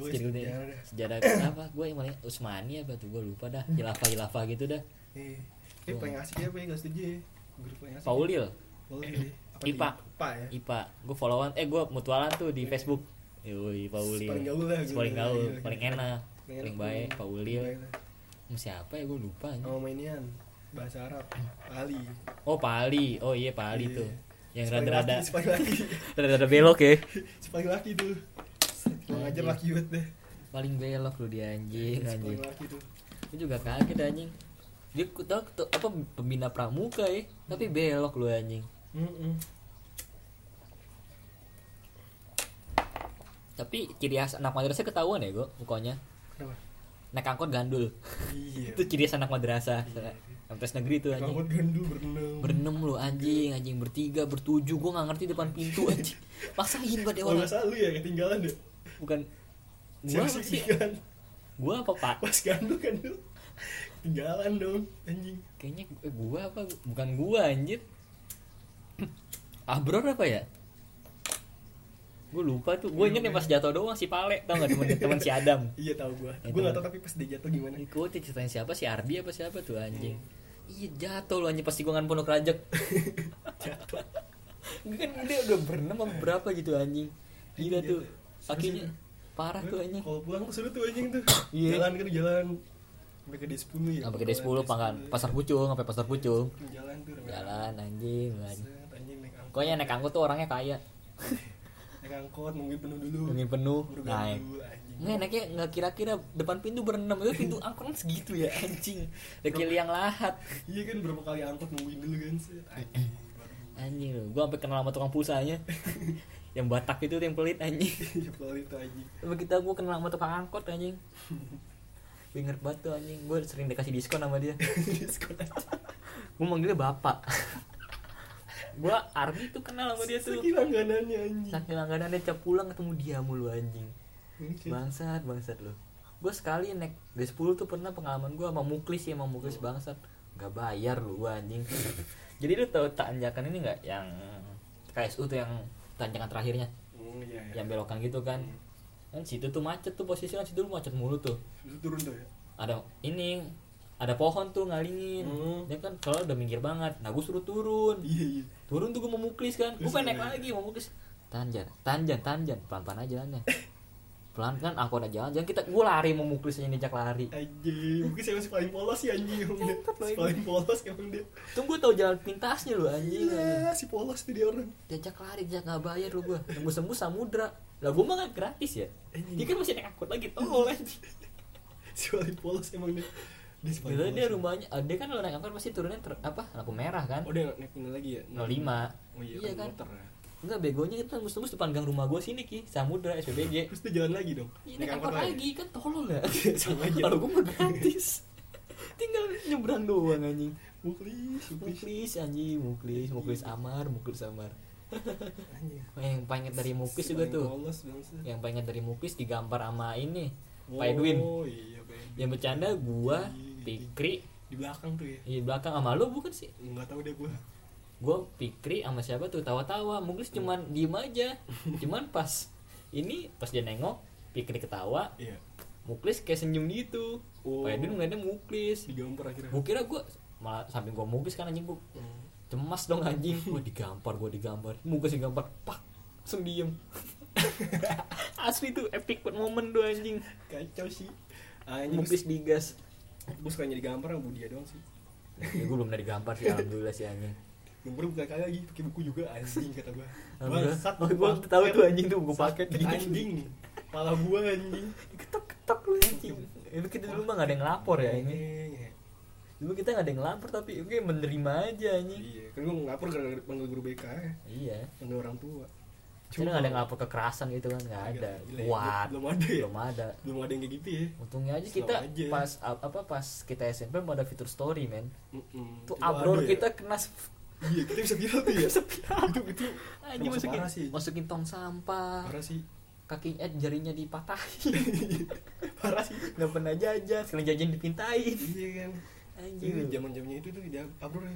Gua Sejarah dunia. Oh, sejarah dah. sejarah apa gua yang paling Usmani apa tuh gua lupa dah hilafah hilafah gitu dah Eh, eh, paling asik ya, paling nggak setuju ya. Guru paling asik. ya? Paulil Pauli deh. Apa IPA. di- IPA ya. IPA gue followan eh gue mutualan tuh di Facebook Yoi Pauli Paling gaul lah, gua. paling gaul Iya, iya. paling enak paling baik Pauli Paling baik Oh. lah. siapa ya gue lupa anjing. Sama mainian bahasa Arab. Pali. oh Pali oh iya Pali Iya. tuh yang Supaya rada-rada laki, supaya laki. [laughs] [laughs] rada-rada belok ya Supaya laki tuh. Kurang ajar Anjing. laki banget deh. paling belok lu dia anjing Supaya anjing laki tuh. gue juga kaget anjing dia ku tau tau- apa pembina pramuka ya tapi belok lu anjing Mm-mm. tapi ciri khas anak madrasah ketahuan ya gue mukanya Kenapa? naik angkot gandul Iya. itu ciri khas anak madrasah Iya. Amtes negeri tuh anjing Rambut gandul berenang. Hmm. berenam lu anjing anjing bertiga bertujuh gua nggak ngerti depan pintu anjing maksain gua Kalau dewa nggak salah lu ya ketinggalan deh. bukan gua Siapa apa sih Kan. sih ketinggalan? gua apa pak Pas gandul gandul. kan, Ketinggalan dong anjing. kayaknya gu- eh, gua apa bukan gua anjir abror apa ya gua lupa tuh gua inget yang pas jatuh doang si pale tau gak temen temen si adam Iya tahu gua. Ya, tahu. Gua nggak Iya, tahu tapi pas dia jatuh gimana. Gue ceritain siapa si Ardi apa siapa tuh anjing. Iya jatuh lu anjing pasti gongan pondok rajak. Jatuh. Gue kan dia udah berenam apa berapa gitu anjing. Gila Iya, tuh. iya. Kakinya parah tuh anjing. Kalau pulang tuh seru tuh anjing tuh. Iya. Jalan kan jalan. Sampai ke D10 ya. Sampai ke D10 pangkalan Pasar Pucung, sampai Pasar Pucung. Jalan tuh. kan? rame-rame. Jalan anjing, lu anjing. Set, Anjing naik angkot. Pokoknya naik angkot tuh orangnya kaya. Naik angkot nungguin penuh dulu. Nungguin penuh, Baru naik. gandul, anjing. Nggak enaknya nggak kira-kira depan pintu berenam itu pintu angkot kan segitu ya anjing. Dekil yang lahat. Iya kan berapa kali angkot nungguin dulu kan. set, Anjing. Baru- [laughs] Anjing lu, gua sampai kenal sama tukang pulsanya. [laughs] yang Batak itu tuh yang pelit anjing. Iya pelan itu anjing. [laughs] Sama kita gue kenal sama tukang angkot anjing Gue inget banget tuh anjing Gue sering dikasih diskon sama dia Diskon anjing. Gue manggilnya bapak [laughs] Gue Ardi tuh kenal sama dia tuh Saking langganannya anjing. Saking langganan dia cap pulang ketemu dia mulu anjing Iya. Bangsat bangsat lu Gue sekali naik G10 tuh pernah pengalaman gue sama Muklis ya sama Muklis Iya. bangsat Gak bayar lu gue anjing [laughs] Jadi lu tau tanjakan ini gak yang KSU tuh yang tanjakan terakhirnya Oh iya iya. Yang belokan gitu kan Kan situ tuh macet tuh posisi kan situ lu macet mulu tuh Terus turun tuh ya. ada ini ada pohon tuh ngalingin Hmm. dia kan kalau udah minggir banget nah gue suruh turun Iya iya. turun tuh gue mau muklis kan gue Terus pengen naik gimana? lagi mau muklis tanjan tanjan tanjan pelan pelan aja jalannya pelan kan aku ada jalan jangan kita gue lari mau muklis aja diajak lari Anjing, mungkin saya masih paling polos sih anjing emang dia. Tetep lah ini. Paling polos emang dia. tuh gue tau jalan pintasnya lu anjing anjing. Iya, si polos tuh dia orang. diajak lari diajak nggak bayar lu gue nunggu sembuh samudra lah gue mah nggak gratis ya dia kan masih naik angkot lagi tolol anjing Si paling polos emang dia. Dia si paling Padahal polos. dia rumahnya ah, dia kan kalau naik angkot pasti turunnya ter- apa lampu merah kan Oh, dia naik pindah lagi ya? 05 Oh iya, Iya kan kan? motor ya. Enggak begonya kita tembus-tembus depan gang rumah gue sini Ki Samudra SPBG Terus dia jalan lagi dong. Ini angkot lagi kan tolol [laughs] ya Sama aja. Kalau gue mah gratis [laughs] Tinggal nyebrang doang anjing Muklis, muklis. Muklis anjing Muklis Muklis Amar Muklis Amar Oh, Anjing. Yang pengen dari Ya, Muklis juga paling tuh Polos bangsa. Yang pengen dari Muklis digampar sama ini Oh, Pak Edwin Ya. iya, Pak Edwin. Yang bercanda gua Pikri Di belakang tuh ya. Di belakang sama lo bukan sih Enggak tahu deh gua. gue pikri sama siapa tuh tawa-tawa mungkin cuman diem aja cuman pas ini pas dia nengok pikri ketawa Iya. muklis kayak senyum gitu oh. Oh. Pak Edwin ngeliatnya muklis Digampar akhirnya. gue kira gue malah samping gue muklis kan anjing gue Hmm. cemas dong anjing gue digampar gue digampar muklis digampar pak langsung diem [laughs] asli tuh epic banget momen tuh anjing Kacau sih. Anjing. muklis digas Gue suka nyari gambar sama dia doang sih. ya, gue belum dari gampar sih alhamdulillah sih anjing Gambar bukan kali lagi pakai buku juga anjing kata gua. Bangsat, Alhamdulillah, gue Oh, tahu tuh anjing tuh gue paket Paket anjing nih. Pala gua anjing. ketok-ketok lu anjing itu kita dulu mah gak ada yang lapor ya ini Iya. dulu kita gak ada yang lapor tapi oke menerima aja anjing Iya, kan gua ngapor gara-gara panggil guru BK, iya panggil orang tua. cuma gak ada yang lapor kekerasan gitu kan gak ada Gila, ya, kuat belum ada ya? belum ada belum ada yang kayak gitu ya. untungnya aja Slow kita aja. pas apa pas kita SMP mau ada fitur story men Mm-mm. tuh Itu abrol ada ya? kita kena iya kita bisa viral tuh [laughs] ya itu itu Anjing termasuk masukin, parah sih masukin tong sampah, parah sih kaki eh, jarinya [laughs] dipatahin, parah sih nggak pernah jajan, sekali jajan dipintain. iya kan itu Anjing. zaman zamannya itu tuh dia abro ya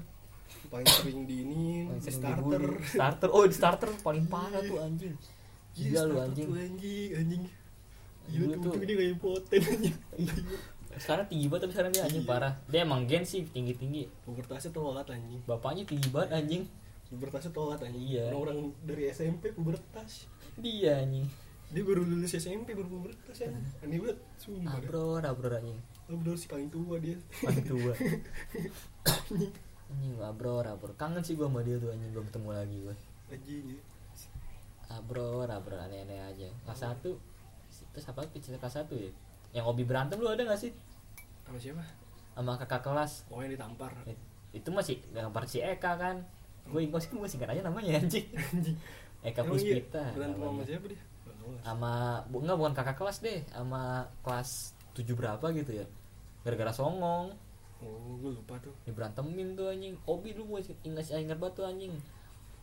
paling sering diinin Paling di sering starter dibully. starter oh di starter paling parah tuh anjing Iya, gila lu starter anjing tuh anjing anjing Dulu tuh- Gila tuh Iya. untung dia gak impoten anjing sekarang tinggi banget tapi sekarang dia anjing Iya. parah dia emang gen sih tinggi tinggi Pubertasnya telat anjing bapaknya tinggi banget anjing Pubertasnya telat anjing Iya. Orang-orang dari SMP pubertas dia anjing Dia baru lulus SMP baru pubertas anjing Aneh banget Sumpah dah. abro abro anjing Abro sih paling tua dia paling tua anjing abro abro kangen sih gua sama dia tuh anjing belum ketemu lagi gua Anjing ya abro abro aneh aneh aja kelas satu terus apa cerita kelas satu ya yang hobi berantem lu ada gak sih Sama siapa? sama kakak kelas Oh yang ditampar It- itu masih gambar si Eka kan gue ingat sih gue singkat aja namanya anjing [laughs] Anjing Eka Emang iya, Puspita Berantem sama namanya. siapa dia? Gak tahu. sama bu, enggak bukan kakak kelas deh sama kelas 7 berapa gitu ya gara-gara songong Oh gue lupa tuh diberantemin tuh anjing hobi lu gue ingat ingat banget tuh anjing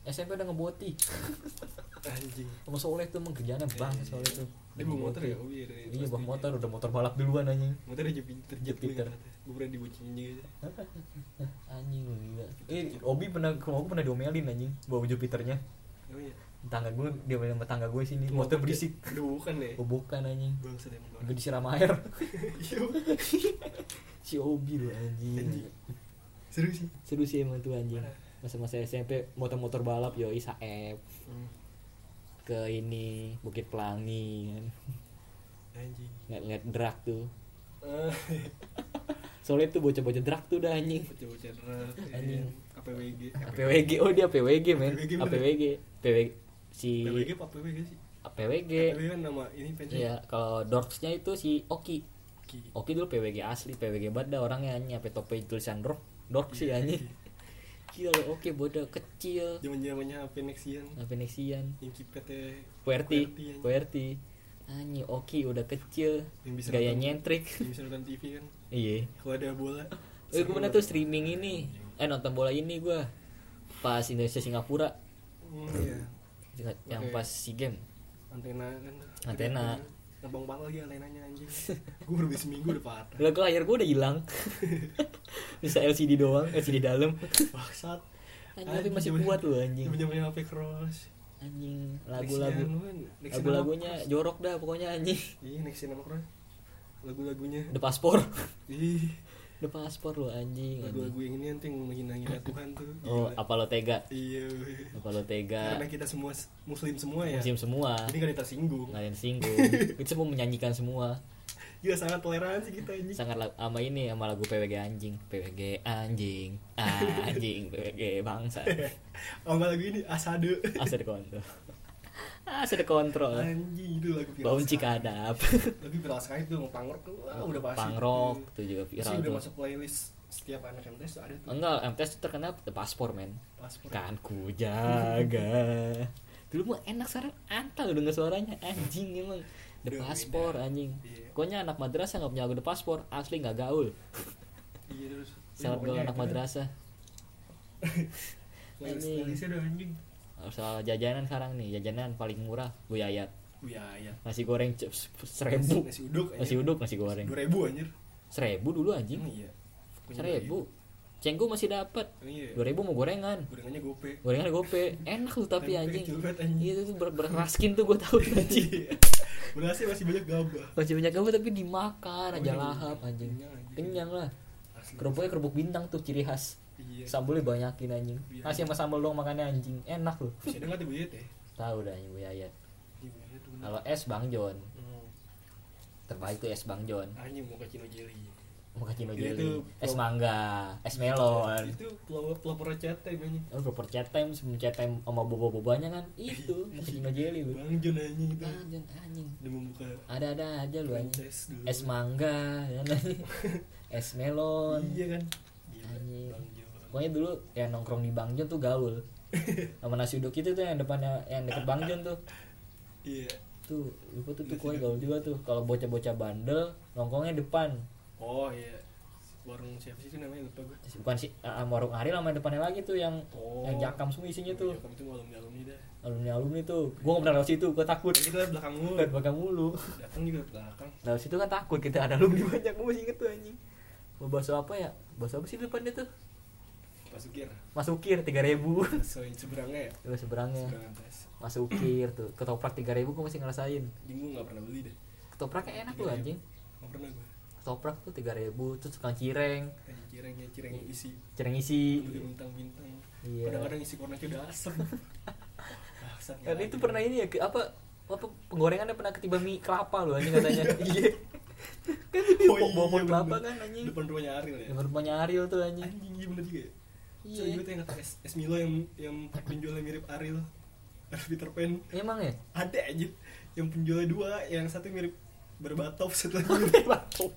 SMP udah ngeboti Anjing sama Soleh tuh emang kerjaannya bang Soleh tuh Dia bawa motor ya? Oh iya dari iya kelas bawa tiga. motor udah motor balap duluan anjing Motornya Jupiter Jupiter. Jupiter Gue pernah diboncengin juga anjing lu gila eh Obi pernah kemarin pernah diomelin anjing bawa Jupiternya Oh iya tangga gue dia main sama tangga gue sini motor berisik Aduh bukan deh oh, bukan anjing Bangsa deh motor gue disiram air [laughs] [laughs] Iya si Obi lu anjing Anjing. Seru sih seru sih emang tuh anjing masa-masa SMP motor-motor balap yo Saeb Hmm, ke ini Bukit Pelangi kan. Anjing ngeliat-ngeliat drag tuh Eh. [laughs] Ah, soalnya tuh bocah-bocah drag tuh dah anjing Bocah-bocah drag Anjing. Anjing APWG APWG oh dia APWG men APWG bener. APWG PW si APWG apa APWG sih? APWG APWG kan nama ini pensi ya kalau dorksnya itu si Oki Ki. Oki dulu PWG asli PWG banget dah orangnya anjing sampai topi tulisan dork dork sih Iya, anjing iya. gila lo Oki bodoh kecil Zaman-zamannya HP Nexian apa Nexian Yang kipetnya QWERTY QWERTY, anjing. QWERTY Anjing Oki udah kecil Yang bisa Gaya nonton. nyentrik [laughs] Yang bisa nonton TV kan Iya Kalau ada bola Eh gue pernah tuh streaming ini Eh nonton bola ini gua Pas Indonesia Singapura Hmm, Iya Ingat, Yang Oke. pas SEA Games Antena kan Antena. Abang patah lagi antenanya anjing Gue baru beli seminggu udah [laughs] patah Lah gue layar gue udah hilang Bisa LCD doang LCD dalam Baksat Anjing tapi masih kuat loh anjing Zaman-zamannya HP Cross Anjing Nexian, lagu-lagu kan. Nexian sama Lagu-lagunya Cross. jorok dah pokoknya anjing Iya Nexian sama Cross Lagu-lagunya The paspor Ih [laughs] The paspor lo anjing, anjing. Lagu-lagu yang ini nanti [laughs] menghina-hina Tuhan tuh Iya, Oh Ya. Gila. apa lo tega Iya weh. Apa lo tega Karena kita semua s- muslim semua ya Musim semua Jadi gak ada yang tersinggung nggak ada yang [laughs] singgung itu semua menyanyikan semua Gila Iya, sangat toleransi kita anjing sangat la- sama ini sama lagu PWG anjing PWG anjing anjing PWG bangsa [laughs] Oh nggak lagu ini Asade asal dikontrol asal dikontrol Anjing itu lagu viral baun sekali. cikadap Lagu viral sekali tuh Pangrok tuh wah, udah pasti pangrok itu juga Pasti viral udah tuh Oh, masuk playlist setiap anak MTS tuh ada tuh [laughs] enggak MTS tuh terkenal the paspor men Paspor kan ku jaga dulu mah enak sekarang antal denger suaranya anjing emang the Udah paspor anjing Iya. pokoknya anak madrasah nggak punya lagu the paspor asli nggak gaul Iya gitu. terus sangat gaul anak madrasah Playlist Anjing. playlistnya udah anjing soal jajanan sekarang nih jajanan paling murah Bu Yayat Wih ya nasi goreng c- seribu Nasi uduk nasi uduk nasi goreng Dua ribu anjir seribu dulu Emang anjing iya Punya seribu cenggu masih dapat Emang Iya dua ribu mau gorengan Gorengannya gope gorengan gope enak tuh tapi Tempe anjing Iya, kecil banget, anjing. itu tuh ber- beraskin tuh gue tahu tuh, anjing Iya. [laughs] Berasnya masih banyak gabah masih banyak apa tapi dimakan aja Banyak. lahap anjing Kenyang, anjing. kenyang lah Asli. kerupuknya kerupuk bintang tuh ciri khas Iya sambelnya banyakin anjing Iya. masih sama sambel dong makannya anjing enak loh Masih ada nggak tuh Bu Yet ya tahu dah anjing Bu Yayat Iya, Bu Yet tuh bener. kalau es Bang John Hmm. terbaik tuh es Bang John Anjing mau ke Cino Jelly Mochaccino jelly, Iya, itu Iya, es pel- mangga, es melon. Itu pelopor pelopor cete banyak Oh, proper chat time, sebelum chat time sama boba-bobanya kan itu mochaccino jelly lu. Bang Jon anjing itu Anjing, anjing. Udah membuka Ada-ada aja Iya. lu anjing. franchise dulu Es mangga, ya [laughs] kan? es melon. Iya kan Gila Anjing. Bang Jon Pokoknya dulu yang nongkrong di Bang Jon tuh gaul. Sama nasi uduk itu tuh yang depannya yang deket Bang Jon tuh. Iya Tuh, lupa tuh tuh kue gaul juga tuh. Kalau bocah-bocah bandel nongkrongnya depan. Oh iya warung siapa sih itu namanya lupa gue bukan sih ah, warung Ariel sama depannya lagi tuh yang oh yang Eh, jakam semua isinya tuh Jakam itu ngalum ngalum dah alumni alumni tuh gue nggak pernah lewat situ gue takut Ya, kita lihat belakang mulu lihat bakal mulu datang juga ke belakang lewat situ kan takut kita ada alumni banyak gue masih inget tuh anjing mau bakso apa ya bakso apa sih di depannya tuh pas ukir Mas Ukir tiga ribu [laughs] so yang seberangnya ya Coba seberangnya seberangan tes Mas Ukir tuh ketoprak tiga ribu gue masih ngerasain jadi gue nggak pernah beli deh ketopraknya enak tuh 3.000. anjing nggak pernah gue ketoprak tuh tiga ribu terus tukang cireng kayak cireng ya cireng isi cireng isi beli bintang bintang Iya. kadang-kadang isi kornet udah asem [laughs] Bangsat, Dan nggak Oh, itu lagi. pernah ini ya, ke- apa apa penggorengannya pernah ketiba mie kelapa loh anjing katanya. [laughs] Iya. kan ini Oh bawa bawa iya, pohon kelapa bener. kan anjing. depan rumahnya Ariel ya Yang rumahnya Ariel tuh anjing. anjing iya bener juga ya Iya. Coy, gue tuh ingat es, es Milo yang yang penjualnya mirip Ariel Ariel Peter Pan Emang ya? ada aja yang penjualnya dua yang satu mirip Berbatov satu lagi mirip-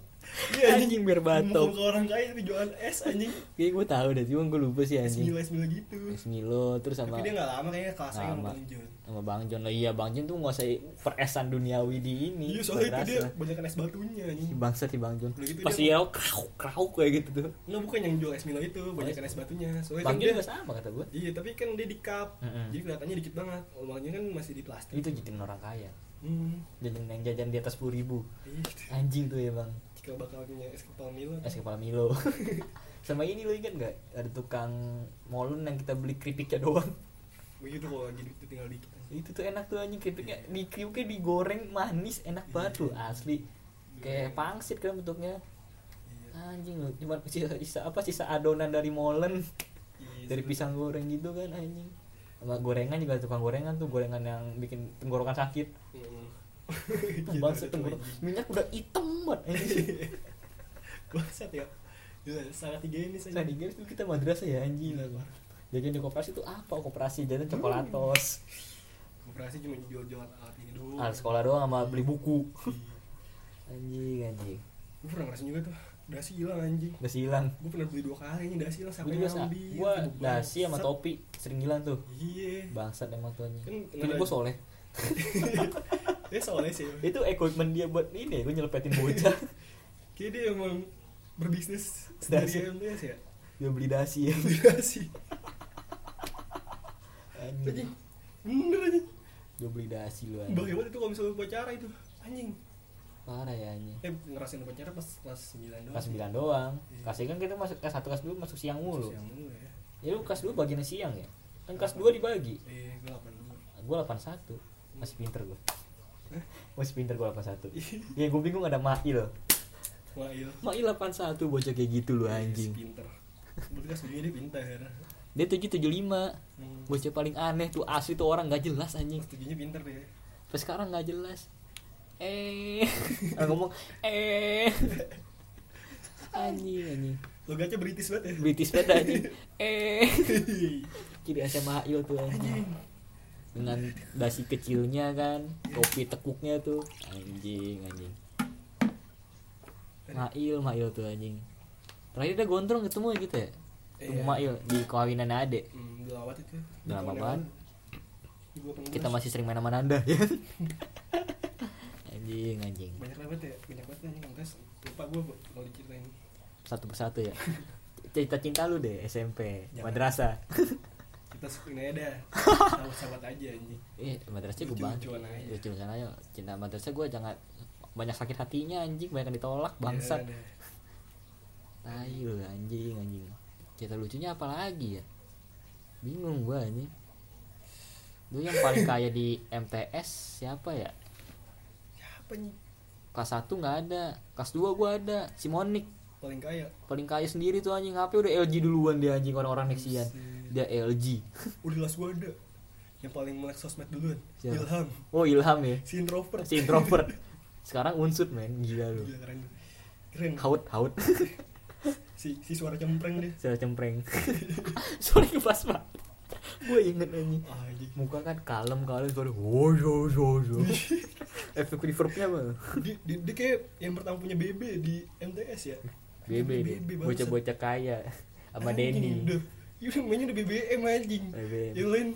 [laughs] iya anjing berbatop. muka orang kaya tapi jualan es anjing Kayak gue tahu deh, cuma gue lupa sih es anjing. Milo es Milo gitu Es Milo terus sama tapi dia nggak lama kayaknya Nggak kelasnya sama lama. Bang John sama Bang Jon. Lah iya Bang Jon tuh nguasai peresan duniawi di ini. iya soalnya itu Berasa. dia banyak es batunya Si anjing bangsa si Bang Jon. Udah gitu Pas dia- dia krau krau kayak gitu tuh. nggak bukan yang jual es Milo itu banyak es batunya soalnya kan Oh, iya. Bang Jon dia juga sama kata gue. iya tapi kan dia di cup Mm-mm. Gitu. jadi kelihatannya dikit banget awalnya kan masih di plastik Itu jajan orang kaya. hmm Jajan yang jajan di atas 10.000 ribu. iya gitu. Anjing tuh ya bang. jika bakal punya es kepal Milo es kepala Milo [laughs] sama ini lo ingat nggak ada tukang molen yang kita beli keripiknya doang begitu kalau lagi duit tinggal dikit itu tuh enak tuh anjing keripiknya di kriuknya digoreng manis enak banget tuh asli kayak pangsit kan bentuknya Iya. anjing lu cuma sisa, sisa apa sisa adonan dari molen Iya, dari seru. pisang goreng gitu kan anjing sama gorengan juga ada tukang gorengan tuh gorengan yang bikin tenggorokan sakit [laughs] Mm. Tuh, Gitu, bangsa ada tenggorokan lagi. minyak udah item banget anjing [laughs] Bangsat ya. Gila, sangat tiga ini Nah saja. di games tuh kita madrasah ya anjing Hmm. Gila, parah. Jajan di koperasi itu apa? Koperasi jajan coklatos Koperasi cuma jual-jualan alat ini doang. Alat Ah, sekolah doang sama beli buku Iya. Anjing anjing Gue pernah ngerasain juga tuh. Dasi hilang anjing. Udah hilang Gue pernah beli dua kali ini dasi hilang Gue sampai juga sa- ngambil. gua Aduh, dasi sama bangsat. topi sering hilang tuh Iya. Bangsat emang tuh Kan anjing nggak Tapi gue ada- soleh Dia soalnya sih. Itu equipment dia buat ini Gue nyelepetin bocah [laughs] Kayaknya dia emang berbisnis Dasi. sendirian tuh ya sih ya. Dia beli dasi ya Beli dasi. Anjing. Anjing Bener anjing. Dia beli dasi lu Bahaya anjing banget itu kalau misalnya upacara itu. Anjing. Parah ya anjing Eh ngerasain upacara pas kelas 9 doang. Kelas 9 doang Kasih kan kita masuk kelas 1 kelas 2 masuk siang mulu Siang mulu ya. Ya lu kelas 2 bagiannya siang ya Kan kelas 2 dibagi Iya, gue 8 dulu. gue 81 masih pinter gue masih pinter gue 81 ya gue bingung ada Mail Wah, iya. Mail 81 bocah kayak gitu lu anjing Yes, pinter. Berarti kan sebenarnya dia pinter. dia 775 Hmm. bocah paling aneh tuh asli tuh orang gak jelas anjing Studinya pinter deh. sampai sekarang gak jelas eh Orang ngomong eh anjing anjing Logatnya British banget ya. [laughs] British banget anjing eh Hei. kiri asal Mail tuh anjing dengan dasi kecilnya kan kopi tekuknya tuh anjing anjing Mail, Mail tuh anjing. Terakhir dia gondrong ketemu ya gitu ya. Ketemu Iya. Mail di kawinan adek. Hmm, udah lewat itu. Udah lama banget. Gua pengen Kita masih sering main sama Nanda ya. [laughs] anjing, anjing. banyak lewat ya, banyak banget anjing kontes. Lupa gue kalau diceritain. Satu persatu ya. Cerita cinta lu deh SMP, Jangan. [laughs] madrasah. Kita sepin aja [laughs] dah. Sahabat-sahabat aja anjing. Eh, madrasah gue banget. Lucu-lucuan aja. Lucu-lucuan aja. Cinta madrasah gue jangan banyak sakit hatinya anjing, banyak yang ditolak bangsat. Iya, dah. Tai lu anjing, anjing. Cerita lucunya apa lagi ya? Bingung gua anjing. Lu yang [laughs] paling kaya di MTS siapa ya? Siapa nih Kelas 1 nggak ada, kelas 2 gua ada, si Monik paling kaya? paling kaya sendiri tuh anjing HP udah LG duluan dia anjing orang-orang Nexian. Buset. Dia LG. Udah las gue ada. Yang paling melek sosmed duluan. Siapa? Ilham. [laughs] Oh, Ilham ya. Si introvert. Si introvert. Sekarang unsut men, gila lu. Gila, keren. Keren. Haut, [laughs] haut. Si, si suara cempreng deh. Saya cempreng. [laughs] Sorry pas banget. Gua inget anjing. Ah, anjing. [laughs] muka kan kalem kalem suara wow wow wow wow efek reverbnya apa dia, dia, dia kayak yang pertama punya BB di MTS ya BB BB, bangsat. bocah-bocah kaya sama Anjing, Denny udah. Iya udah mainnya udah BBM anjing BBM. Yang lain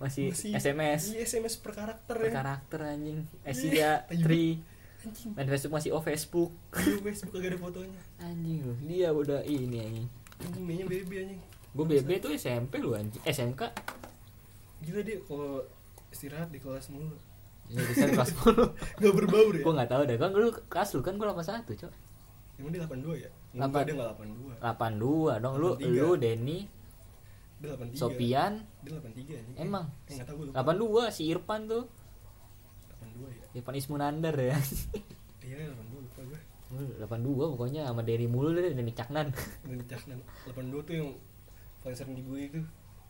masih SMS Iya SMS per karakter per ya karakter anjing Ih, Asia tai 3 banget. anjing main Facebook masih oh Facebook di Facebook kagak ada fotonya anjing lu dia udah ini anjing anjing mainnya BB anjing gue BB tuh SMP lu anjing SMK gila dia kalau istirahat di kelas mulu [laughs] ini bisa di kelas [laughs] 10 gak berbaur ya gue nggak tahu deh kan lu kelas lu kan gue 81 cok emang dia 82 ya Delapan. enggak dia gak 82 82 dong lu 83. lu Denny dia 83 Sopian dia 83 anjing Emang? eh, gak tau gue lupa 82 si Irfan tuh 82 ya Irfan Ismunandar ya [laughs] iya 82 lupa gue Lu 82 pokoknya sama Denny mulu deh Denny Caknan [laughs] dan Caknan 82 tuh yang paling sering dibully tuh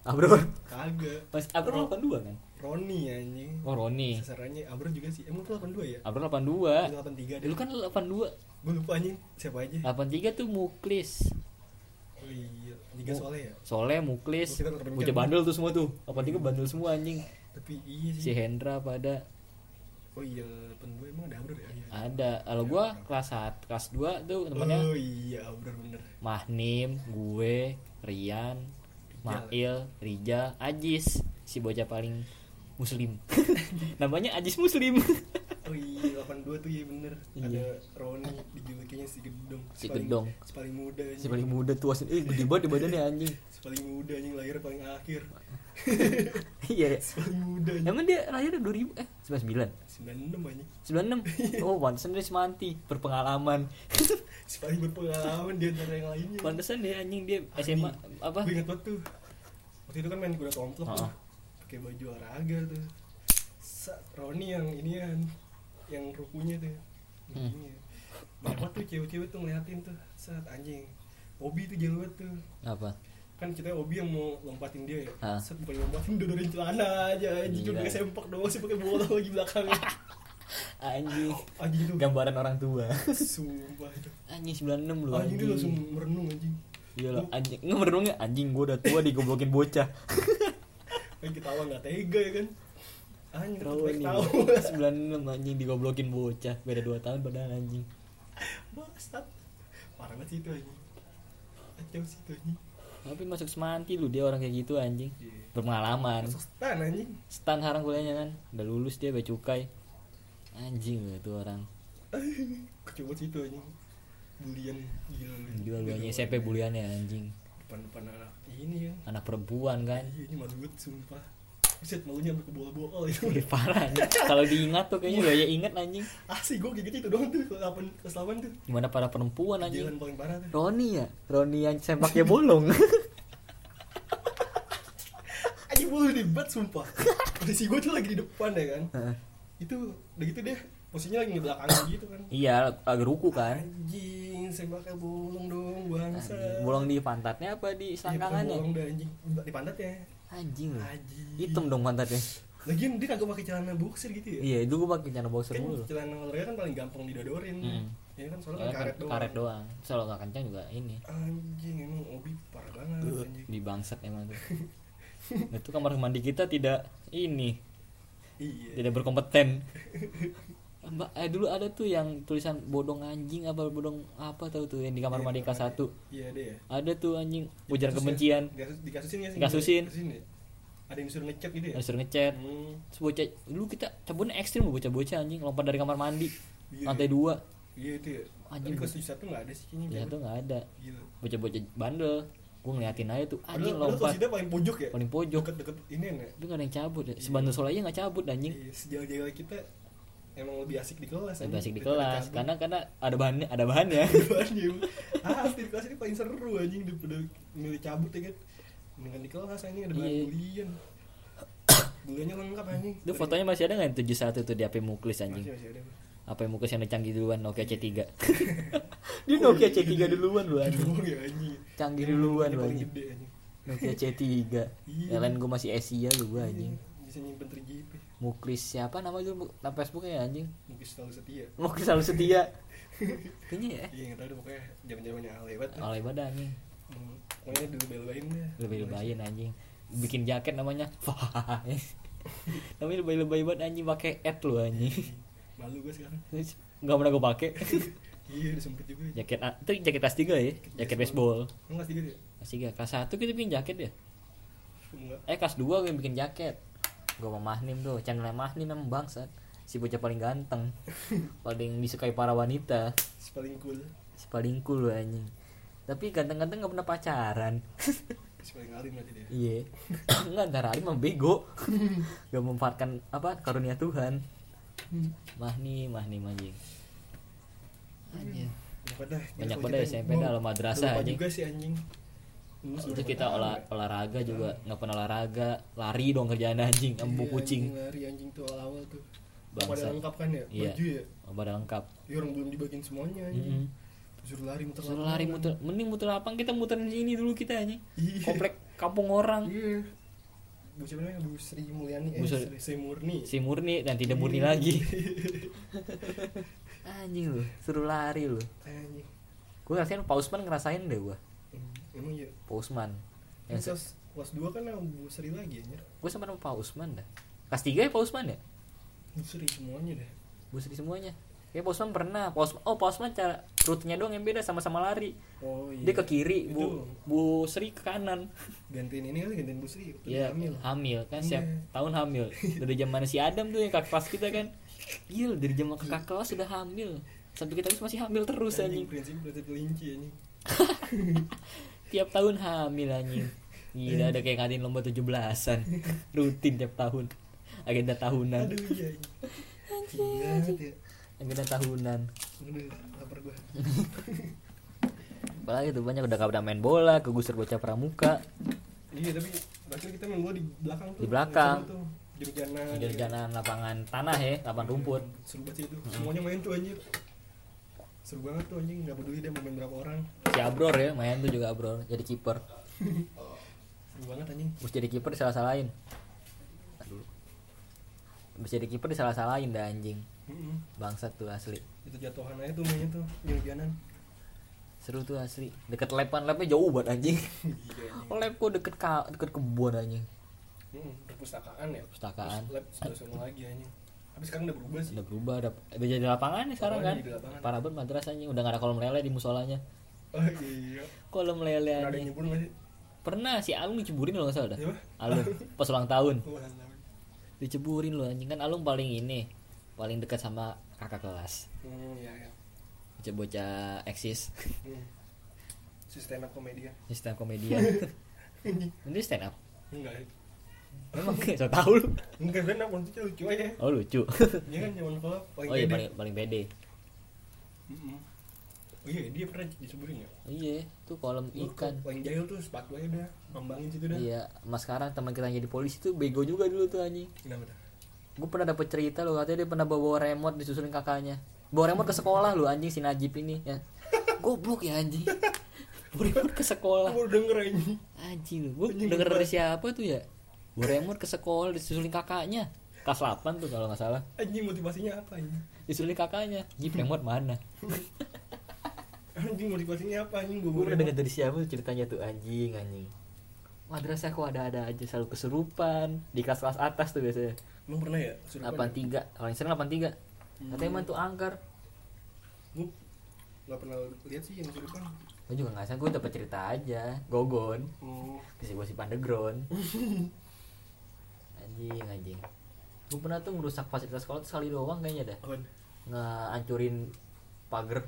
Abro kagak Mas Abro 82 kan Roni anjing oh Roni sasarannya Abro juga sih emang tuh 82 ya Abro Dia 82 83 deh dulu kan lu 82 gue lupa anjing siapa aja 83 tuh Muklis oh iya tiga Mu- soalnya ya Soleh Muklis Kita ketemukan. Bocah bandel tuh semua tuh 83 bandel semua anjing tapi iya si sih Hendra pada oh iya 82 emang ada Abro ya Iya. ada kalau gua kelas 1 kelas 2 tuh temennya oh iya Abro bener Mahnim, gue, Rian, Mail, Rija, Ajis, si bocah paling muslim. [laughs] Namanya Ajis Muslim. oh iya 82 tuh iya bener ada Roni dijulukinya si Gedong Si Paling- Gedong. si paling muda si anjing paling muda tua sih. Eh, gede banget di badannya anjing. si paling muda anjing lahir paling akhir Ah. [laughs] [laughs] Iya. si paling muda anjing Emang dia lahir 2000 eh 99. 96 anjing [laughs] 96. Oh, pantesan dia semanti, berpengalaman. [laughs] si paling berpengalaman di antara yang lainnya pantesan dia anjing dia SMA apa? Gue inget banget tuh Waktu itu kan main kuda tomplok tuh Ah. Pakai baju olahraga tuh Sa- Roni yang inian Yang rukunya tuh Hmm. Ininya. Banyak banget tuh cewek-cewek tuh ngeliatin tuh Saat anjing Obi tuh jalan banget tuh Apa? kan kita Obi yang mau lompatin dia ya Ah. Set bukan lompatin dodorin celana aja anjing cuma Gila. pakai sempak doang sih pakai bola lagi [laughs] belakangnya Anjing. anjing tuh Gambaran orang tua. [laughs] [laughs] sumpah itu Anjing 96 lu. anjing tuh langsung merenung anjing Iya lah, anjing. Nggak merenungnya anjing gua udah tua digoblokin [laughs] bocah. kan ketawa nggak tega ya kan anjing tetep Rawan baik nih. [laughs] tahu 96 anjing digoblokin bocah. Beda 2 tahun padahal anjing. Bangsat. Parah banget sih itu anjing. Kacau sih itu anjing. Tapi masuk semanti lu dia orang kayak gitu anjing. Iya. Berpengalaman. Masuk stan anjing. [laughs] Stan harang kuliahnya kan. Udah lulus dia bea cukai. Anjing lu itu orang. Kacau banget sih itu anjing. Bulian gila. lu. Gila lu anjing SMP buliannya anjing. Depan-depan anak ini ya. Anak perempuan kan. [laughs] Iya ini malu banget sumpah. Buset malunya sampai ke bola-bola itu. [laughs] Ih, Parah anjing. Kalau diingat tuh kayaknya gaya ingat anjing. Asli gue kayak gitu itu doang tuh kelas 8 kelas 8 tuh. Gimana para perempuan anjing. Jalan paling parah tuh. Roni ya, Roni yang sempaknya [laughs] bolong. Anjing mulu debat sumpah. [laughs] Posisi gue tuh lagi di depan ya kan. Itu udah gitu deh. Posisinya lagi di belakang gitu kan. iya, agak ruku kan. Anjing, sembaknya bolong dong, bangsa. Anjing. Bolong di pantatnya apa di Iya, selangkangannya? bolong dah anjing di pantatnya. Anjing lu. Anjing. Hitam Hmm. dong pantatnya. Lagian dia kagak pakai celana boxer gitu ya. Iya, itu gua pakai celana boxer Kan mulu. celana olahraga kan paling gampang didodorin. Hmm. Ya kan soalnya Soalnya kan karet doang. Karet doang. Terus Kalau nggak kencang juga ini. Anjing emang Obi parah banget anjing. Di bangsat emang tuh. Nah, itu kamar mandi kita tidak ini, Iya. tidak berkompeten. Mbak, eh, dulu ada tuh yang tulisan bodong anjing apa bodong apa tahu tuh yang di kamar Iya, mandi kelas 1. Iya ada ya. Ada tuh anjing ujaran Kasus ya? kebencian. Dikasus- Dikasusin ya sih. Dikasusin. ya? Ada yang suruh ngecek gitu ya. Disuruh ngechat. Hmm. Terus bocah dulu kita cabutnya ekstrim loh, bocah-bocah anjing lompat dari kamar mandi Iya. lantai dua Iya itu ya. Anjing. Anjing kelas tujuh satu nggak ada sih kayaknya. ya tuh nggak ada Gila. bocah-bocah bandel gue ngeliatin aja tuh anjing Padahal- padahal kelas lompat tujuh paling pojok ya. paling pojok Deket-deket ini ya. itu nggak ada yang cabut ya. sebandel soalnya aja nggak cabut anjing Iya, sejauh-jauh kita emang lebih asik di kelas. lebih asik di daripada kelas cabut. karena karena ada bahannya ada [laughs] bahannya anjing ah aktivitas ini paling seru anjing daripada milih cabut ya kan dengan di kelas anjing ada banyak Iya. [coughs] bulian buliannya lengkap anjing itu fotonya masih ada nggak tujuh satu tuh di HP Muklis masih anjing masih ada apa yang Muklis yang udah canggih duluan Nokia C [laughs] 3 Iya. dia Nokia C 3 duluan lu Gitu anjing doang ya anjing canggih duluan Ini lu paling anjing gede anjing Nokia C 3 [laughs] Iya. yang lain gue masih Asia lu gua, anjing Iya, bisa nyimpen 3GP Muklis siapa nama dulu nama Facebooknya ya, anjing mungkin selalu setia [laughs] Muklis selalu setia [laughs] kayaknya ya iya nggak tahu deh, pokoknya zaman zamannya lewat lah. oleh badan anjing Hmm, pokoknya dulu belain dah lebih lebayin anjing bikin jaket namanya [laughs] namanya lebay lebay banget anjing pakai ad lu anjing malu gue sekarang Terus nggak pernah gue [laughs] pakai iya udah sempet juga ya jaket A- itu jaket kelas tiga ya jaket baseball enggak sih gitu ya kelas tiga kelas satu kita bikin jaket ya enggak eh kelas dua gue bikin jaket gue sama Mahnim tuh channelnya Mahnim emang bangsat si bocah paling [laughs] ganteng paling disukai para wanita Si paling cool si paling cool lu anjing tapi ganteng-ganteng nggak pernah pacaran si paling alim berarti dia [coughs] iya nggak antara alim sama bego [laughs] nggak memanfaatkan apa karunia Tuhan Hmm. mah nih mah nih mah, anjing Anjing. banyak banget dah Banyak Gila, kalau banget dah kita- SMP gua dah, lo madrasah, lupa anjing. juga sih anjing Lulus itu berapa kita tahun, olah ya? olahraga juga nggak pernah olahraga lari dong kerjaan anjing embu Iya, kucing anjing lari anjing tuh awal-awal tuh pada bangsa lengkap kan ya Iya. baju ya pada lengkap ya orang belum dibagiin semuanya Mm-mm. anjing suruh lari muter suruh lapangan. lari muter mending muter lapang kita muterin ini dulu kita anjing Iya. komplek kampung orang iya bu siapa namanya bu Sri Mulyani eh, Bu Sri- Sri, Sri Murni si murni dan tidak murni [laughs] lagi Iya. anjing lu suruh lari lu Eh, anjing gue ngerasain pausman ngerasain deh gue Em- emang ya pausman yang se- kelas kelas dua kan sama bu Sri lagi anjir gue sama nama pausman dah kelas tiga ya pausman ya bu Sri semuanya dah busri semuanya ya pausman pernah pausman oh pausman cara rutenya doang yang beda sama-sama lari oh dia ke kiri bu Itu. bu sri ke kanan gantiin ini kali gantiin bu Sri waktu Iya, dia hamil hamil. kan siap Iya. tahun hamil. Dari zaman si Adam tuh yang kakak kelas kita kan. Gil, dari zaman kakak kelas sudah hamil. Sampai kita habis masih hamil terus anjing anjing. Kan prinsip prinsip kelinci anjing Tiap tahun hamil anjing. Gila ada kayak ngadain lomba [laughs] 17-an. Rutin tiap tahun. Agenda tahunan. aduh iya anjing. Gila banget ya Agenda tahunan. Aduh, lapar gua Apalagi tuh banyak udah gak pernah main bola, kegusur bocah pramuka, iya tapi bahkan kita main bola di belakang tuh Di belakang. Seru tuh. jam jana di jalanan lapangan tanah ya, lapangan rumput. seru banget sih itu semuanya main tuh anjir seru banget tuh anjing nggak peduli dia mau main berapa orang Si Abror ya, main tuh juga Abror jadi kiper. seru banget anjing Terus jadi kiper disalah-salahin. Aduh. Habis jadi kiper disalah-salahin dah anjing. Mm-mm. Bangsat tuh asli. itu jatuhan aja tuh mainnya tuh jam janan Seru tuh asli. Deket lepan lepnya jauh banget anjing. [laughs] Gila, Iya, anjing. Oh, lab kok deket ka, deket kebun anjing. Mm, perpustakaan ya Perpustakaan. Terus lab sebelah sana lagi anjing tapi sekarang udah berubah sih Udah berubah, udah, udah jadi lapangan nih sekarang kan. Lapangan jadi lapangan. Parah banget madrasahnya udah gak ada kolam lele di musolanya. oh iya Kolam lele Pernah ada yang anjing. nyebur nggak sih Pernah si Alung diceburin loh enggak salah dah. Iya, Pak. [laughs] Alung pas ulang tahun Oh, alam. diceburin loh anjing kan Alung paling ini paling dekat sama kakak kelas. Hmm, iya, iya. Bocah-bocah eksis. Hmm. Si stand up komedian. Ini stand up [laughs] komedian. Ini stand up. Enggak. Memang so tau lu. Enggak stand up maksudnya lucu aja. Oh lucu. Dia kan zaman kolab Oh iya pede. paling paling pede. Mm-mm. Oh iya, dia pernah disebutin ya? Iya, tuh kolam Lu ikan. Paling jahil tuh sepatu aja udah, ngembangin situ dah. Iya, mas sekarang teman kita yang jadi polisi tuh bego juga dulu tuh anjing. Kenapa dah? Gue pernah dapet cerita loh katanya dia pernah bawa remote disusulin kakaknya. Bawa remote ke sekolah loh anjing si Najib ini [laughs] ya. Goblok ya anjing. Bawa remote ke sekolah. Aku baru denger ini. Anjing lu, gue denger dari siapa tuh ya? Bawa remote ke sekolah disusulin kakaknya. Kelas 8 tuh kalau nggak salah. Anjing motivasinya apa ini? Disusulin kakaknya. Jip remote mana? Anjing motivasinya apa anjing gue gua udah dengar dari siapa tuh ceritanya tuh anjing anjing madrasah kok ada-ada aja selalu kesurupan di kelas-kelas atas tuh biasanya Emang pernah ya? Hmm. Sudah delapan tiga paling sering delapan tiga katanya emang tuh angker Gue gak pernah lihat sih yang surupan. gue juga nggak sanggup gue dapet cerita aja gogon Oh, kasih gue si underground [laughs] anjing anjing gue pernah tuh ngerusak fasilitas sekolah tuh sekali doang kayaknya dah apaan? ngehancurin pagar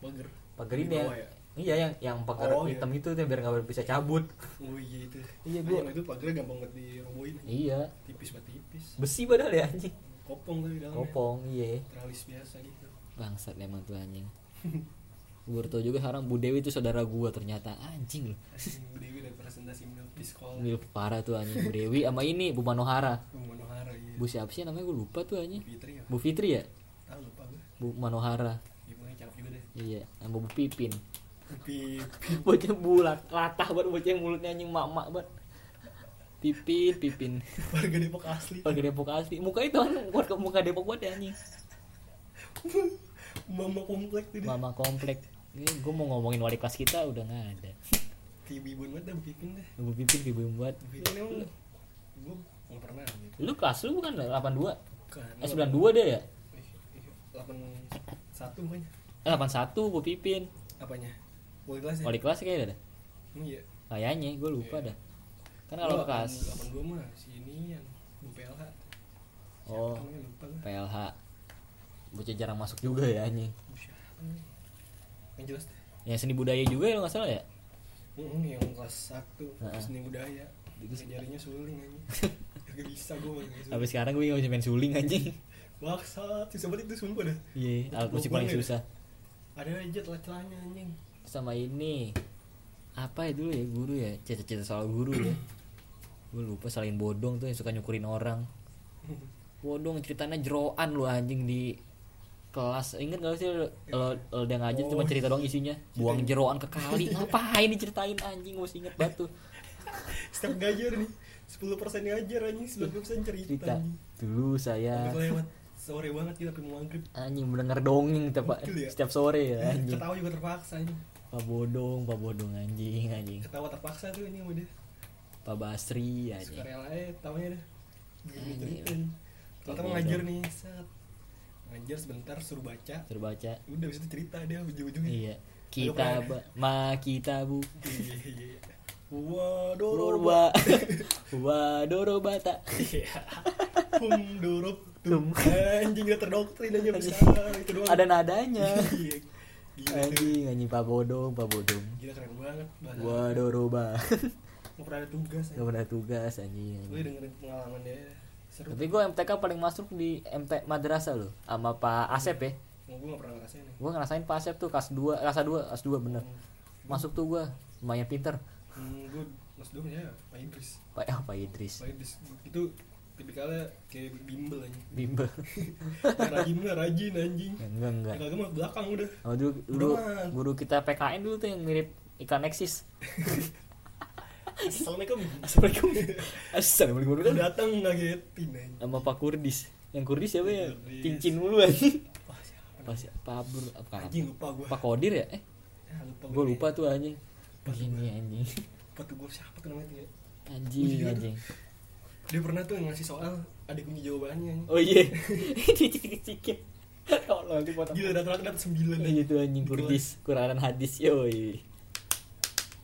Bager. pagar Di ini bawah ya ya? iya yang yang pagar Oh, iya. hitam itu tuh biar nggak bisa cabut Oh iya itu. Iya, gua- Anjing, itu pagernya gampang banget dirobohin. iya Tipis banget tipis. besi padahal ya anjing Kopong tuh di dalamnya. kopong iya Teralis biasa gitu. Bangsat emang tuh anjing. Gue baru tau juga sekarang Bu Dewi itu saudara gua ternyata anjing loh. [laughs] Anjing Dewi dan presentasi milf di sekolah. Milf parah tuh anjing Bu Dewi sama ini Bu Manohara. Bu Manohara iya. Bu siapa sih namanya gue lupa tuh anjing. Fitri ya. Bu Fitri ya? Ah lupa gue. Bu Manohara. Gimana cakep juga deh. Iya, sama Bu Pipin. [laughs] Pipi. Bocah bulat, latah buat bocah yang mulutnya anjing mak-mak buat. Pipin, Pipin. [laughs] Warga Depok asli. Warga Depok asli. Muka itu kan warga muka Depok buat ya anjing. Mama komplek tuh dia. Mama komplek. Ini gue mau ngomongin wali kelas kita udah nggak ada. Kayak bibun banget dah Bu Pipin deh. Bu Pipin ibu buat. Bu Pipin emang gue nggak pernah gitu. Lu kelas lu bukan 82? Kan. Eh 92 deh ya? Delapan satu banyak. Eh, 81 Bu Pipin. Apanya? Wali kelas ya? Wali kelas kayaknya dah. Hmm, Iya. Kayaknya gue lupa Iya. dah. Kan kalau Delapan- kelas Delapan dua mah si ini yang Bu PLH. Siapa Oh. namanya lupa gue. PLH bocah jarang masuk juga ya anjing Siapa nih? Yang jelas deh. ya seni budaya juga ya lo nggak salah ya Mm, yang kelas satu Heeh. seni budaya. Itu- Nyarinya suling [laughs] anjing. Gak bisa gue pakai suling. tapi sekarang gue nggak bisa main suling anjing Bangsat, susah banget itu sumpah dah. iya alat musik paling susah Ada aja celah-celahnya anjing. [laughs] sama ini apa ya dulu ya guru ya cita-cita soal guru ya gue lupa salin bodong tuh yang suka nyukurin orang bodong ceritanya jeroan lu anjing di kelas inget gak sih lo lo udah ngajar cuma Oh. cerita doang isinya buang jeroan ke kali ngapain diceritain anjing gue masih inget banget tuh Setiap ngajar nih, 10% ngajar anjing, 90% cerita. cerita Ah. anjing. dulu Sampai saya kelewat sore banget kita ke maghrib. anjing mendengar dongeng tiap Gokil ya. setiap sore ya anjing Ketawa juga terpaksa anjing. pak bodong pak bodong anjing anjing Ketawa terpaksa tuh ini sama dia. pak basri Suka anjing rela eh tawanya dah. Gini Anjing. gitu. ceritain. Ternyata mau ngajar nih, set. Ngajar sebentar suruh baca. terbaca Udah bisa cerita dia ujung-ujungnya. Iya. ya? Kita ba- ma kita bu Iya, iya, iya. Waduh, [laughs] Dorba Wa dorobata Iya. Hum durup tum. Tum. Anjing udah terdoktrin aja bisa. Itu doang. Ada nadanya Iya. Gila, tuh. Anjing anjing pak bodong pak bodong Gila keren banget. Bahasa. Wa doroba Nggak pernah ada tugas. [laughs] Gak pernah tugas anjing Gue dengerin pengalaman dia. Seru. Tapi gue MTK paling masuk di MT madrasah loh Sama Pak Asep ya Mau gue nggak pernah ngerasain ya. nih. Gue ngerasain Pak Asep tuh kelas 2 Kelas 2 Kelas 2 bener Masuk tuh gue Lumayan pinter Hmm, gue mas dong ya, Pak Idris. Pak, ah, Pak Idris Pak Idris itu tipikalnya kayak bimbel aja. Bimbel Rajin lah, rajin anjing. [laughs] Enggak enggak Kagak mah belakang udah. Sama dulu, dulu Udah, Man. guru kita PKN dulu tuh yang mirip iklan eksis Assalamualaikum. Assalamualaikum. Assalamualaikum Udah warahmatullahi datang ngagetin anjing. Sama Pak Kurdis. Yang Kurdis siapa ya? Kurdis. Cincin mulu anjing. Wah, siapa? Pas Pak Abdur apa? Anjing lupa gue. Pak Kodir ya? Eh, Ah, lupa gua lupa tuh anjing. Lupa tuh Begini anjing. Lupa tuh gue siapa tuh namanya tuh ya. Anjing Iya. anjing. Dia pernah tuh ngasih soal ada kunci jawabannya. anjing. Oh iya. [laughs] Dicicik-cicik. Tolong dipotong. Gila rata-rata dapat 9 Iya tuh anjing Kurdis, Quranan hadis yoi.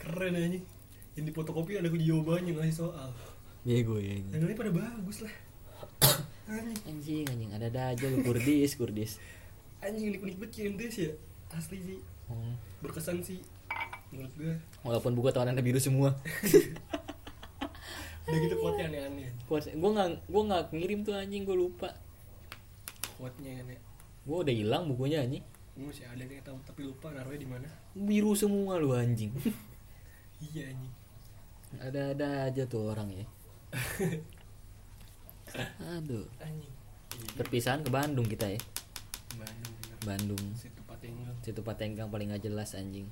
Keren anjing. Yang di fotokopi ada kunci jawabannya ngasih soal. Bego ya Dan anjing. ini pada bagus lah. [coughs] Anjing, Anjing anjing ada ada aja lu Kurdis, Kurdis. anjing unik-unik banget ya MTS ya. Asli sih. Hmm. Berkesan sih. Menurut gue. Walaupun buku tawanan biru semua. Udah gitu kuatnya aneh-aneh. Kuat- Gua nggak gua nggak ngirim tuh anjing, gua lupa. Kuatnya aneh. Gua udah hilang bukunya anjing. Gue masih ada nih tahu tapi lupa naruhnya di mana. biru semua lu anjing Iya anjing. ada ada aja tuh orang [laughs] ya aduh Anjing. Iya, perpisahan ke Bandung kita ya Bandung bener. Bandung Situ Patenggang. situ patenggang paling gak jelas anjing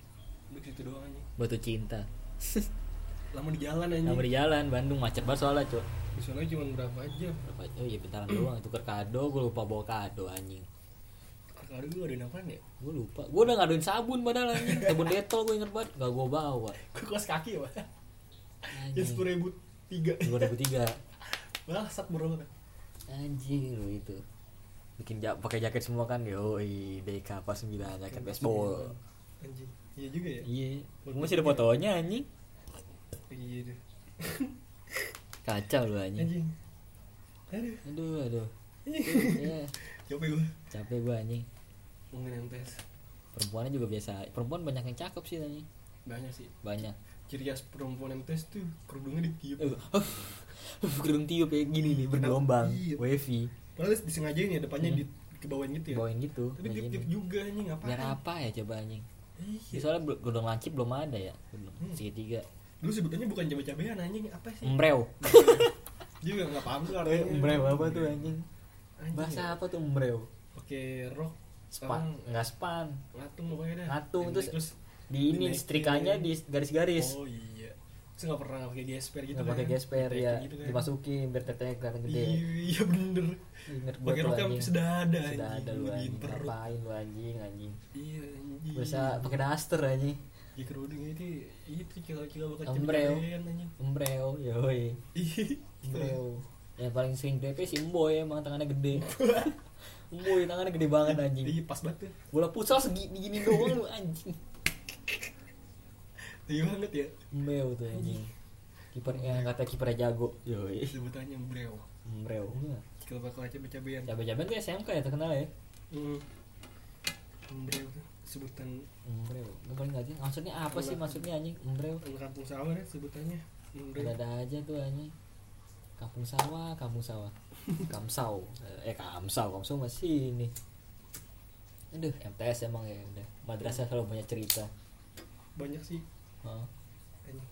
Lu ke situ doang anjing. batu cinta Lama di jalan anjing. nggak berjalan Bandung macet banget soalnya cok Di sana cuma berapa jam? Berapa- oh iya bentaran doang tuker kado gue lupa bawa kado anjing Kalau gue ada apaan ya? [laughs] gue lupa gue udah ngaduin sabun padahal anjing sabun detol gue inget banget gak gue bawa Gue kos kaki ya, Pak. Ya anjing sepuluh ribu tiga. 2003 Bangsat bro. anjing lu itu bikin ja pakai jaket semua kan yoi DK pas 9 jaket baseball Anjing. Iya juga ya. Iya, gua masih ada fotonya anjing. Iya deh. Kacau lu anjing. Anjing. Aduh. Aduh, aduh. Ya, Capek gue. capek gua anjing. Mungkin MTS Perempuannya juga biasa. Perempuan banyak yang cakep sih anjing. banyak sih. Banyak. Ciri khas perempuan MTS tuh kerudungnya ditiup. Eh, [laughs] Gerung tiup kayak gini nih bergelombang, Iya. wavy. Padahal disengajain ya depannya Iya. di kebawain gitu ya. Bawain gitu. Tapi kayak tiup-tiup gini. juga anjing ngapain? Biar apa ya coba anjing? kan? Iya. Ini soalnya bel- godong lancip belum ada ya. Belum. Hmm. Segitiga. Dulu sebutannya bukan cabe-cabean anjing, apa sih? Mbrew. Juga enggak paham tuh artinya. Mbrew apa tuh anjing? Anjing ya. Bahasa apa tuh mbrew? pakai rok Span, sekarang eh, enggak span. ngatung pokoknya dah Ngatung, Yang terus Di ini dinaikin. setrikanya di garis-garis. gitu oh iya terus nggak pernah pakai gesper gitu Nggak pakai gesper Kayak ya, gitu kan. dimasukin biar tetenya kelihatan gede. Iya, iya bener Ingat gua pakai tuh rok yang anjing. Sudah sedada anjing, ada lu gedein anjing, perut. ngapain lu anjing anjing. iya anjing Biasa pakai daster anjing. di kerudung itu itu kilo-kilo bakal Ambrel. cemil-cemilan, anjing Iya. Embreo, yoi. Ih, Embreo. Gitu. Yang paling sering DP si Emboy emang tangannya gede. [laughs] Emboy tangannya gede banget anjing. Ih, pas banget ya. tuh Bola futsal segini gini doang lu anjing. Tinggi banget ya Embreo tuh anjing. Kiper yang kata kipernya jago. Yoi. Sebutannya Ambrel Embreo. Cikal bakal cabe-cabean. Cabe-cabean tuh SMK ya terkenal ya. Hmm. Embryo tuh, sebutan Embryo. Gue paling nggak sih. Maksudnya apa sih maksudnya anjing? Embryo. orang oh, kampung sawah ya sebutannya. Embryo. Ada aja tuh anjing. Kampung sawah, kampung sawah. Kamsau. Eh Kamsau, Kamsau masih ini. Aduh, MTS emang ya udah. Madrasah selalu punya cerita. Banyak sih. Heeh. Anjing.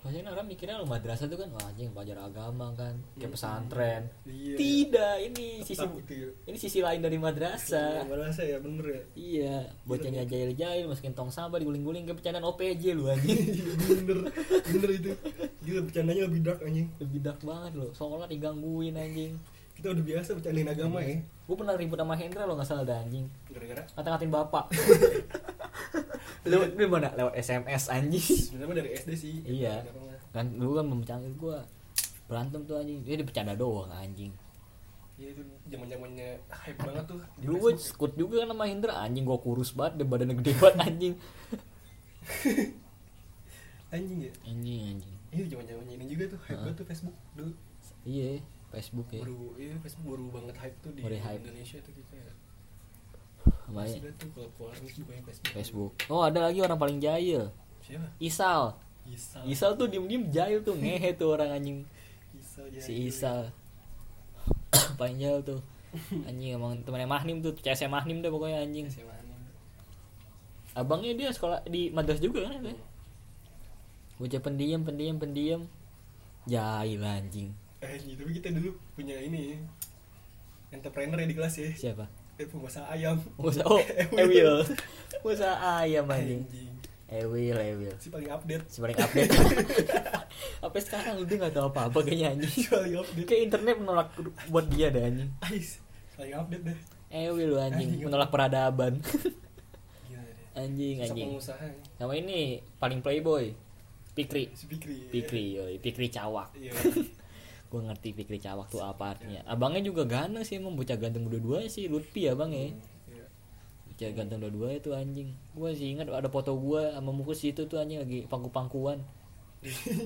Maksudnya kan orang mikirnya lo madrasah tuh kan, wah anjing belajar agama kan, kayak Hmm. pesantren. Iya. Tidak, ini sisi Tetap itu ya. ini sisi lain dari madrasah. Merasa ya bener ya. Iya, bocahnya jahil-jahil masukin tong sampah diguling-guling kayak bercandaan OPJ lu anjing. [laughs] Iya, bener bener itu gila bercandanya lebih dark anjing Lebih dark banget lo, seolah digangguin anjing. kita udah biasa bercandain agama ya Gue pernah ribut sama Hendra lo nggak salah ada anjing. gara-gara Kata-katain [laughs] bapak. Lewat di mana? Lewat SMS anjing. sebenarnya mah dari SD sih Iya. Agama mah. Kan lu kan memecangin gua. Berantem tuh anjing. Dia bercanda doang anjing. iya itu zaman zamannya hype banget tuh di Dulu gue Facebook. skut juga kan sama Hendra anjing gua kurus banget, dia badannya gede banget anjing. anjing ya Anjing anjing. ini zaman zamannya ini juga tuh hype Hah? banget tuh Facebook dulu Iya, Facebook ya. baru iya Facebook baru banget hype tuh di Baru hype. Indonesia tuh kita ya Baik. sudah tuh kalau keluar itu bukannya Facebook ya. Facebook. Oh, ada lagi orang paling jahil. siapa Isal. Isa Isal tuh diem-diem jahil [laughs] tuh ngehe tuh orang anjing Isa si Isal [coughs] paling jahil tuh anjing emang temannya Mahnim tuh CS Mahnim deh pokoknya anjing siapa anjing abangnya dia sekolah di madrasah juga kan ya bocah pendiam pendiam pendiam jahil anjing eh anjing, tapi kita dulu punya ini ya. entrepreneur ya di kelas ya siapa eh pengusaha ayam Musa [laughs] oh Ewil Musa ayam anjing anjing Ewil Ewil si paling update si [laughs] paling update apa sekarang udah nggak tahu apa apa kayaknya si [laughs] anjing paling update kayak internet menolak buat dia deh anjing ais paling update deh Ewil lu anjing Anjing. menolak [laughs] peradaban gila deh anjing Sosok anjing pengusaha ya. sama ini paling playboy Pikri si Pikri ya. Pikri yoi Pikri cawak iya gue ngerti Pikri cawak tuh apa artinya abangnya juga ganteng sih emang bocah ganteng dua-dua sih Lutfi abang ya Iya. [laughs] bocah ganteng dua-dua itu anjing gue sih ingat ada foto gue sama Mukus itu tuh anjing lagi pangku-pangkuan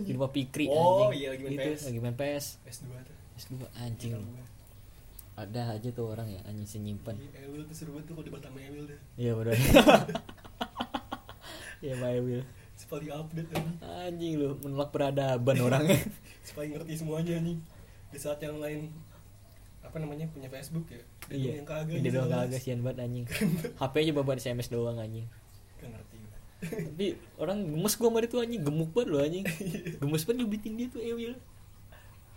di rumah Pikri Oh, anjing iya, lagi main Itu, PS. lagi main PS S2 tuh Terus gua, anjing ada aja tuh orang ya anjing Pen. senyimpan Ewil Iya, tuh seru banget tuh kalau debat sama Ewil deh iya [laughs] benar ya my will si paling update anjing anjing lu menolak peradaban orangnya si paling ngerti semuanya anjing di saat yang lain apa namanya punya Facebook ya dia [laughs] doang Iya. yang kagak Dia anjing, doang jelas. kagak sian banget anjing. HP aja bawa SMS doang anjing. Gak ngerti gua. Tapi orang gemes gua sama dia tuh anjing, gemuk banget lo anjing. Iya. Gemes banget nyubitin dia tuh Ewil.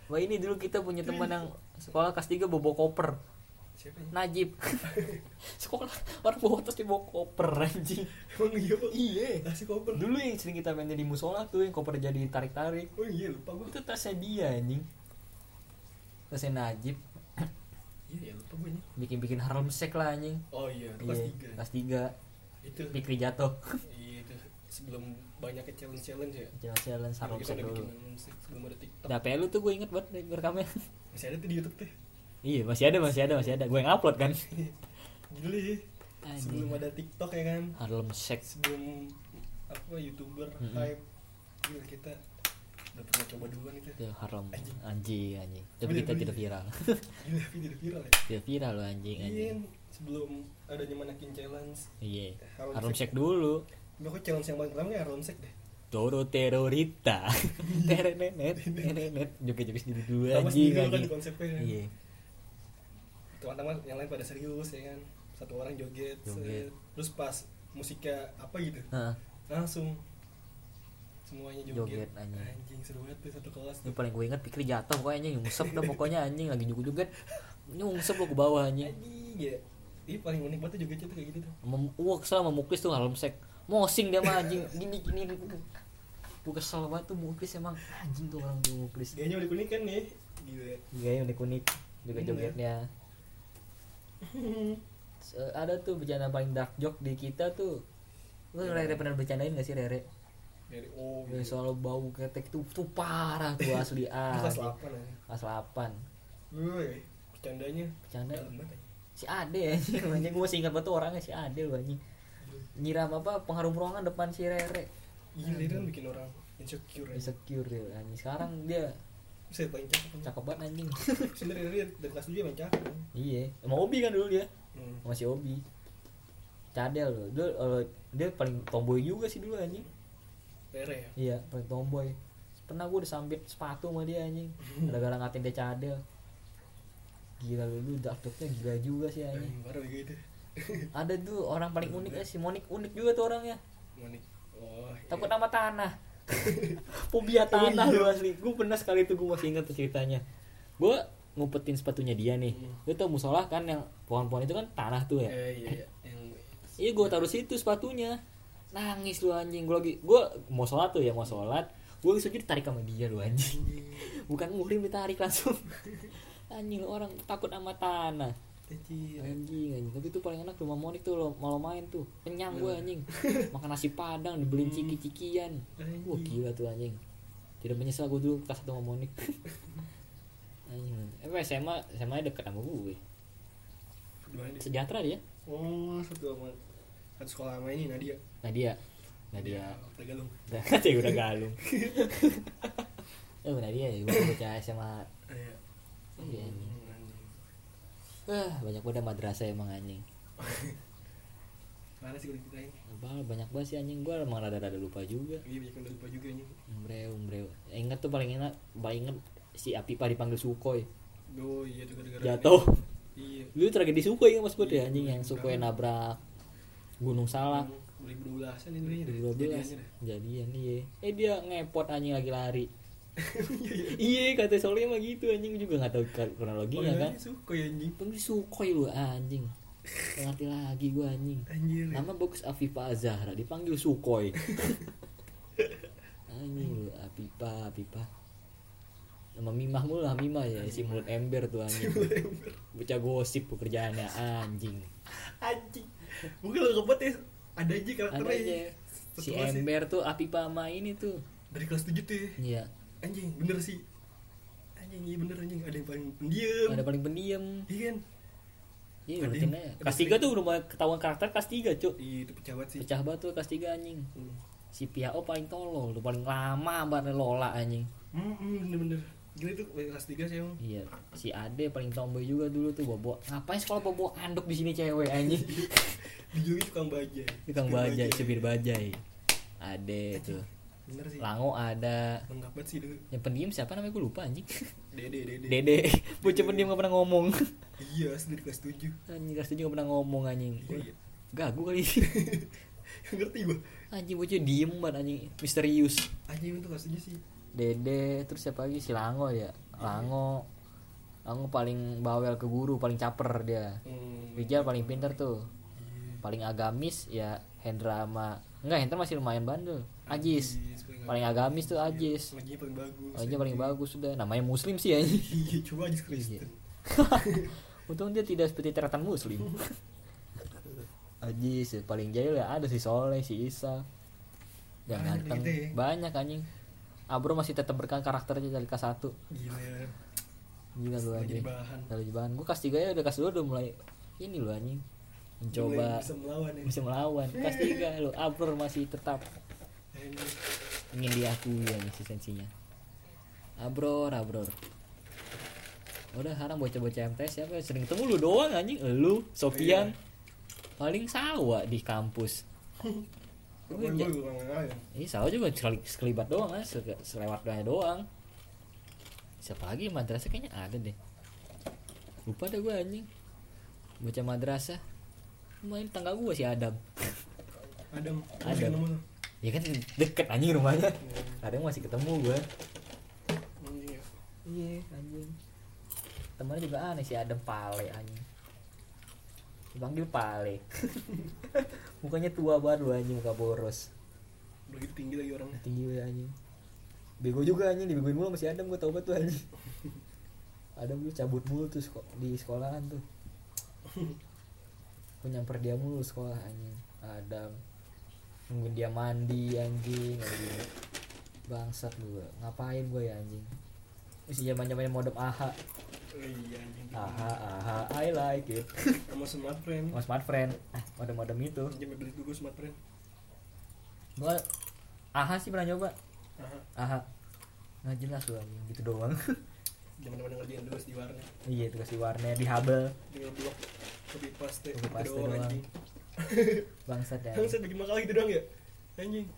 Wah ini dulu kita punya teman yang sekolah kelas 3 bawa koper. siapa ini Najib. [laughs] sekolah orang bawa tas dia bawa koper anjing. emang iya pak Iya. kasih koper Dulu yang sering kita mainnya di musola tuh yang koper jadi tarik-tarik. oh iya lupa gua Itu tasnya dia anjing. Tasnya Najib [coughs] iya ya lupa gua anjing bikin-bikin harlem shake lah anjing. oh iya kelas Iya, tiga Kelas 3. itu Pikri jatuh. [coughs] iya itu sebelum banyak challenge challenge ya jalan-jalan sarung kita set udah dulu. bikin musik sebelum ada TikTok Nah, PL lu tuh gue inget banget dari rekamnya. masih ada tuh di YouTube tuh [coughs] iya, masih ada, masih ada, masih ada. Gue yang upload kan. Iya. dulu ya Anjing. sebelum ada TikTok ya kan Harlem Shake. sebelum apa youtuber Mm-mm. hype gila kita udah pernah coba duluan itu Itu Harlem Anjing. anjing, anjing. Tapi Boleh, kita boleh. tidak viral. [laughs] gila tapi jadi viral ya tidak viral lo anjing, iya Iya, anjing. sebelum adanya manakin challenge Iya. Harlem Harlem Shake. Shake dulu. Dulu kok challenge yang paling pertama kayak Harlem Shake deh Toro [laughs] terorita. Terenenet, nerenet. Joget-joget sendiri dulu Pertama Iya, anjing, sendiri dulu kan anjing. di konsepnya kan. Iya. teman-teman yang lain pada serius ya kan satu orang joget, Joget. set. terus pas musiknya apa gitu Heeh. langsung semuanya joget, Joget, anjing. seru banget tuh satu Ini kelas tuh paling gue inget pikir jatuh pokoknya anjing nyungsep dah pokoknya anjing lagi joget-joget. Nyungsep lo ke bawah anjing. anjing ya ini paling unik banget tuh jogetnya tuh kayak gitu tuh Mem wah kesel sama Muklis tuh Harlem Shake mosing dia mah anjing gini gini gue kesel banget tuh Muklis emang anjing tuh orang tuh Muklis gayanya udah kuning kan nih gitu ya gaya unik unik juga Iya. jogetnya [laughs] Se- ada tuh bercanda paling dark joke di kita tuh lu Rere pernah bercandain gak sih Rere? dari oh Yang gitu. soal bau ketek tuh tuh parah tuh asli Itu ah. [laughs] kelas delapan aja Kelas 8. Woi, bercandanya Bercanda dalam banget ya. anjing. si Ade anjing anjing gue masih ingat banget tuh orangnya si Ade lu anjing. Nyiram apa pengharum ruangan depan si Rere. Gila itu kan bikin orang insecure aja. insecure dia anjing sekarang dia Saya paling cakep anjing. cakep banget [laughs] anjing Sebenernya dari, dari kelas 7 emang cakep anjing. iya sama Obi kan dulu dia Hmm. sama si Obi cadel loh dia, eh, dia paling tomboy juga sih dulu anjing Rere ya iya paling tomboy pernah gue disambit sepatu sama dia [laughs] anjing gara-gara ngatain dia cadel gila lu lu dark jokesnya gila juga sih anjing Anjing, Hmm, Baru ya gitu. [laughs] juga itu ada tuh orang paling unik ya si Monik unik juga tuh orangnya Monik Oh iya. takut nama [laughs] tanah fobia tanah Oh, iya. lu asli gue pernah sekali tuh gue masih ingat tuh ceritanya gue ngumpetin sepatunya dia nih Hmm. lu tau musola kan yang pohon-pohon itu kan tanah tuh ya Iya iya iya Yang iya gue taruh situ sepatunya nangis lu anjing gue lagi gue mau sholat tuh ya mau sholat gue sujud tarik sama dia lu anjing [laughs] bukan muhrim ditarik [laughs] langsung anjing lu orang takut sama tanah Anjing anjing anjing tapi tuh paling enak cuma monik tuh lo mau lo main tuh kenyang gue anjing makan nasi padang dibeliin ciki cikian wah Anjing gila tuh anjing tidak menyesal gue dulu kelas satu sama monik anjing eh SMA SMA -nya deket sama gue Dua ini sejahtera dia Oh satu sama Satu sekolah sama ini Nadia Nadia Nadia Tegalung [laughs] Udah, ya udah galung. Eh benar dia ya, gue bocah SMA. Iya Iya, anjing. Hmm, anjing. Wah, Ah, banyak banget madrasah emang anjing. Mana sih udah ceritain Bah, banyak banget sih anjing gue emang rada-rada lupa juga. Iya banyak yang udah lupa juga anjing Umbreu, umbreu. Eh, Ingat tuh paling enak, paling inget si Apipa dipanggil Sukoi. Oh iya tuh gara-gara Jatuh. [laughs] ini. Iya Lu tragedi Sukoi kan Mas Bud ya Iya, anjing yang Sukoi nabrak Gunung Salak. 2012 an ini kayaknya deh, 2012 jadiannya deh. jadian iya eh dia ngepot anjing lagi [laughs] lari iya kata soalnya mah gitu anjing juga nggak tahu kron- kronologinya Oh, kan iya, suka ya anjing Panggil Sukoi lu [laughs] anjing. Nggak Ngerti lagi gua anjing. Anjir Nama bagus Afifa Zahra dipanggil [laughs] Sukoi. anjing lu Afifa, Afifa. Nama Mimah mulu lah Mimah ya si mulut ember tuh anjing. Bocah gosip pekerjaannya anjing. Anjing Bukan lo ngebet ya Ada aja Ada karakternya aja Satu si kelas ya. ember tuh Afifa sama ini tuh. Dari kelas 7 tuh ya Iya. Anjing bener sih Anjing iya bener anjing Ada yang paling pendiam Ada paling pendiam. Iya kan Iya, Ada- rutin aja. ada Kelas sering. 3 tuh udah mulai ketahuan karakter kelas 3, Cuk. Iya itu pejabat sih Pecah banget tuh kelas 3 anjing. Hmm. Si Piao paling tolol, tuh paling lama banget lola anjing. Hmm hmm, bener-bener Gila itu dari kelas [laughs] 3 sih emang Iya, si Ade paling tomboy juga dulu tuh bobo. Ngapain sekolah bobo anduk di sini cewek [laughs] anjing? Dijuluki tukang bajai Tukang bajai, supir bajai. Ade tuh. Bener sih Lango ada. Lengkap banget sih dulu Yang pendiam siapa namanya gue lupa [laughs] anjing. Dede Dede Dede, bocah pendiam gak pernah ngomong. [laughs] Iya asli dari kelas 7 Anjing kelas tujuh gak pernah ngomong anjing. Iya iya Gagu kali. [laughs] Ngerti gua Anjing bocah diem banget anjing, misterius. Anjing itu kelas 7 sih Dede, terus siapa lagi si Lango ya? Lango. Lango paling bawel ke guru, paling caper dia. Hmm, Rijal paling pinter tuh paling agamis ya Hendra sama enggak Hendra masih lumayan bandel Ajis Ajis, paling paling agamis tuh Ajis Laginya paling bagus. aja paling bagus sudah namanya Muslim sih ya [laughs] Iya, coba Ajis Kristen. [laughs] untung dia tidak seperti teratan Muslim [laughs] Ajis ya, paling jahil ya ada si Soleh si Isa yang Banyak ganteng gitu ya. banyak anjing Abro masih tetap berkan karakternya dari kelas 1 Gila ya. Gila lu Lagi anjing di bahan. Dari bahan Gue kelas 3 ya udah kelas 2 udah mulai Ini lu anjing Mulai Mencoba bisa melawan ya. bisa melawan kelas 3 lo Abror masih tetap Ini ingin diakui ya eksistensinya Abror Abror udah sekarang bocah-bocah MTS siapa ya? sering ketemu lu doang anjing lu Sofian paling sawa di kampus Gue Gua ja- kurang ngalah ya. ini sawa juga sekali sekelibat doang kan se- selewat doang doang siapa lagi madrasah kayaknya ada deh lupa deh gue anjing bocah madrasah main tangga gue si Adam Adam. Adam. Adam. Nama lu. Ya kan deket anjing rumahnya. Iya, Kadang masih ketemu gua. Anjing ya. Iya, anjing. Temannya juga aneh sih Adam Pale anjing. Dipanggil Pale. [laughs] Mukanya tua banget lu anjing muka boros. Udah gitu tinggi lagi orangnya. Tinggi banget anjing. Bego juga anjing dibegoin mulu sama si Adam gua tau banget tuh anjing. Adam dulu cabut mulu tuh seko- di sekolahan tuh. Gua nyamper dia mulu sekolah anjing. Adam nungguin dia mandi anjing, anjing. bangsat gua ngapain gua ya anjing masih zaman zamannya modem aha Oh, Iya anjing. aha aha I like it Sama smart friend. sama smart friend ah modem modem itu Pinjam beli dulu gua smart friend. gua aha sih pernah nyoba Aha. aha nggak jelas gua anjing gitu doang zaman zaman ngerjain tugas di warnet [laughs] iya tugas di warnet [laughs] di habel tinggal blok lebih paste Copy paste doang doang. anjing bangsat ya Bang, saya bikin makalah gitu doang ya anjing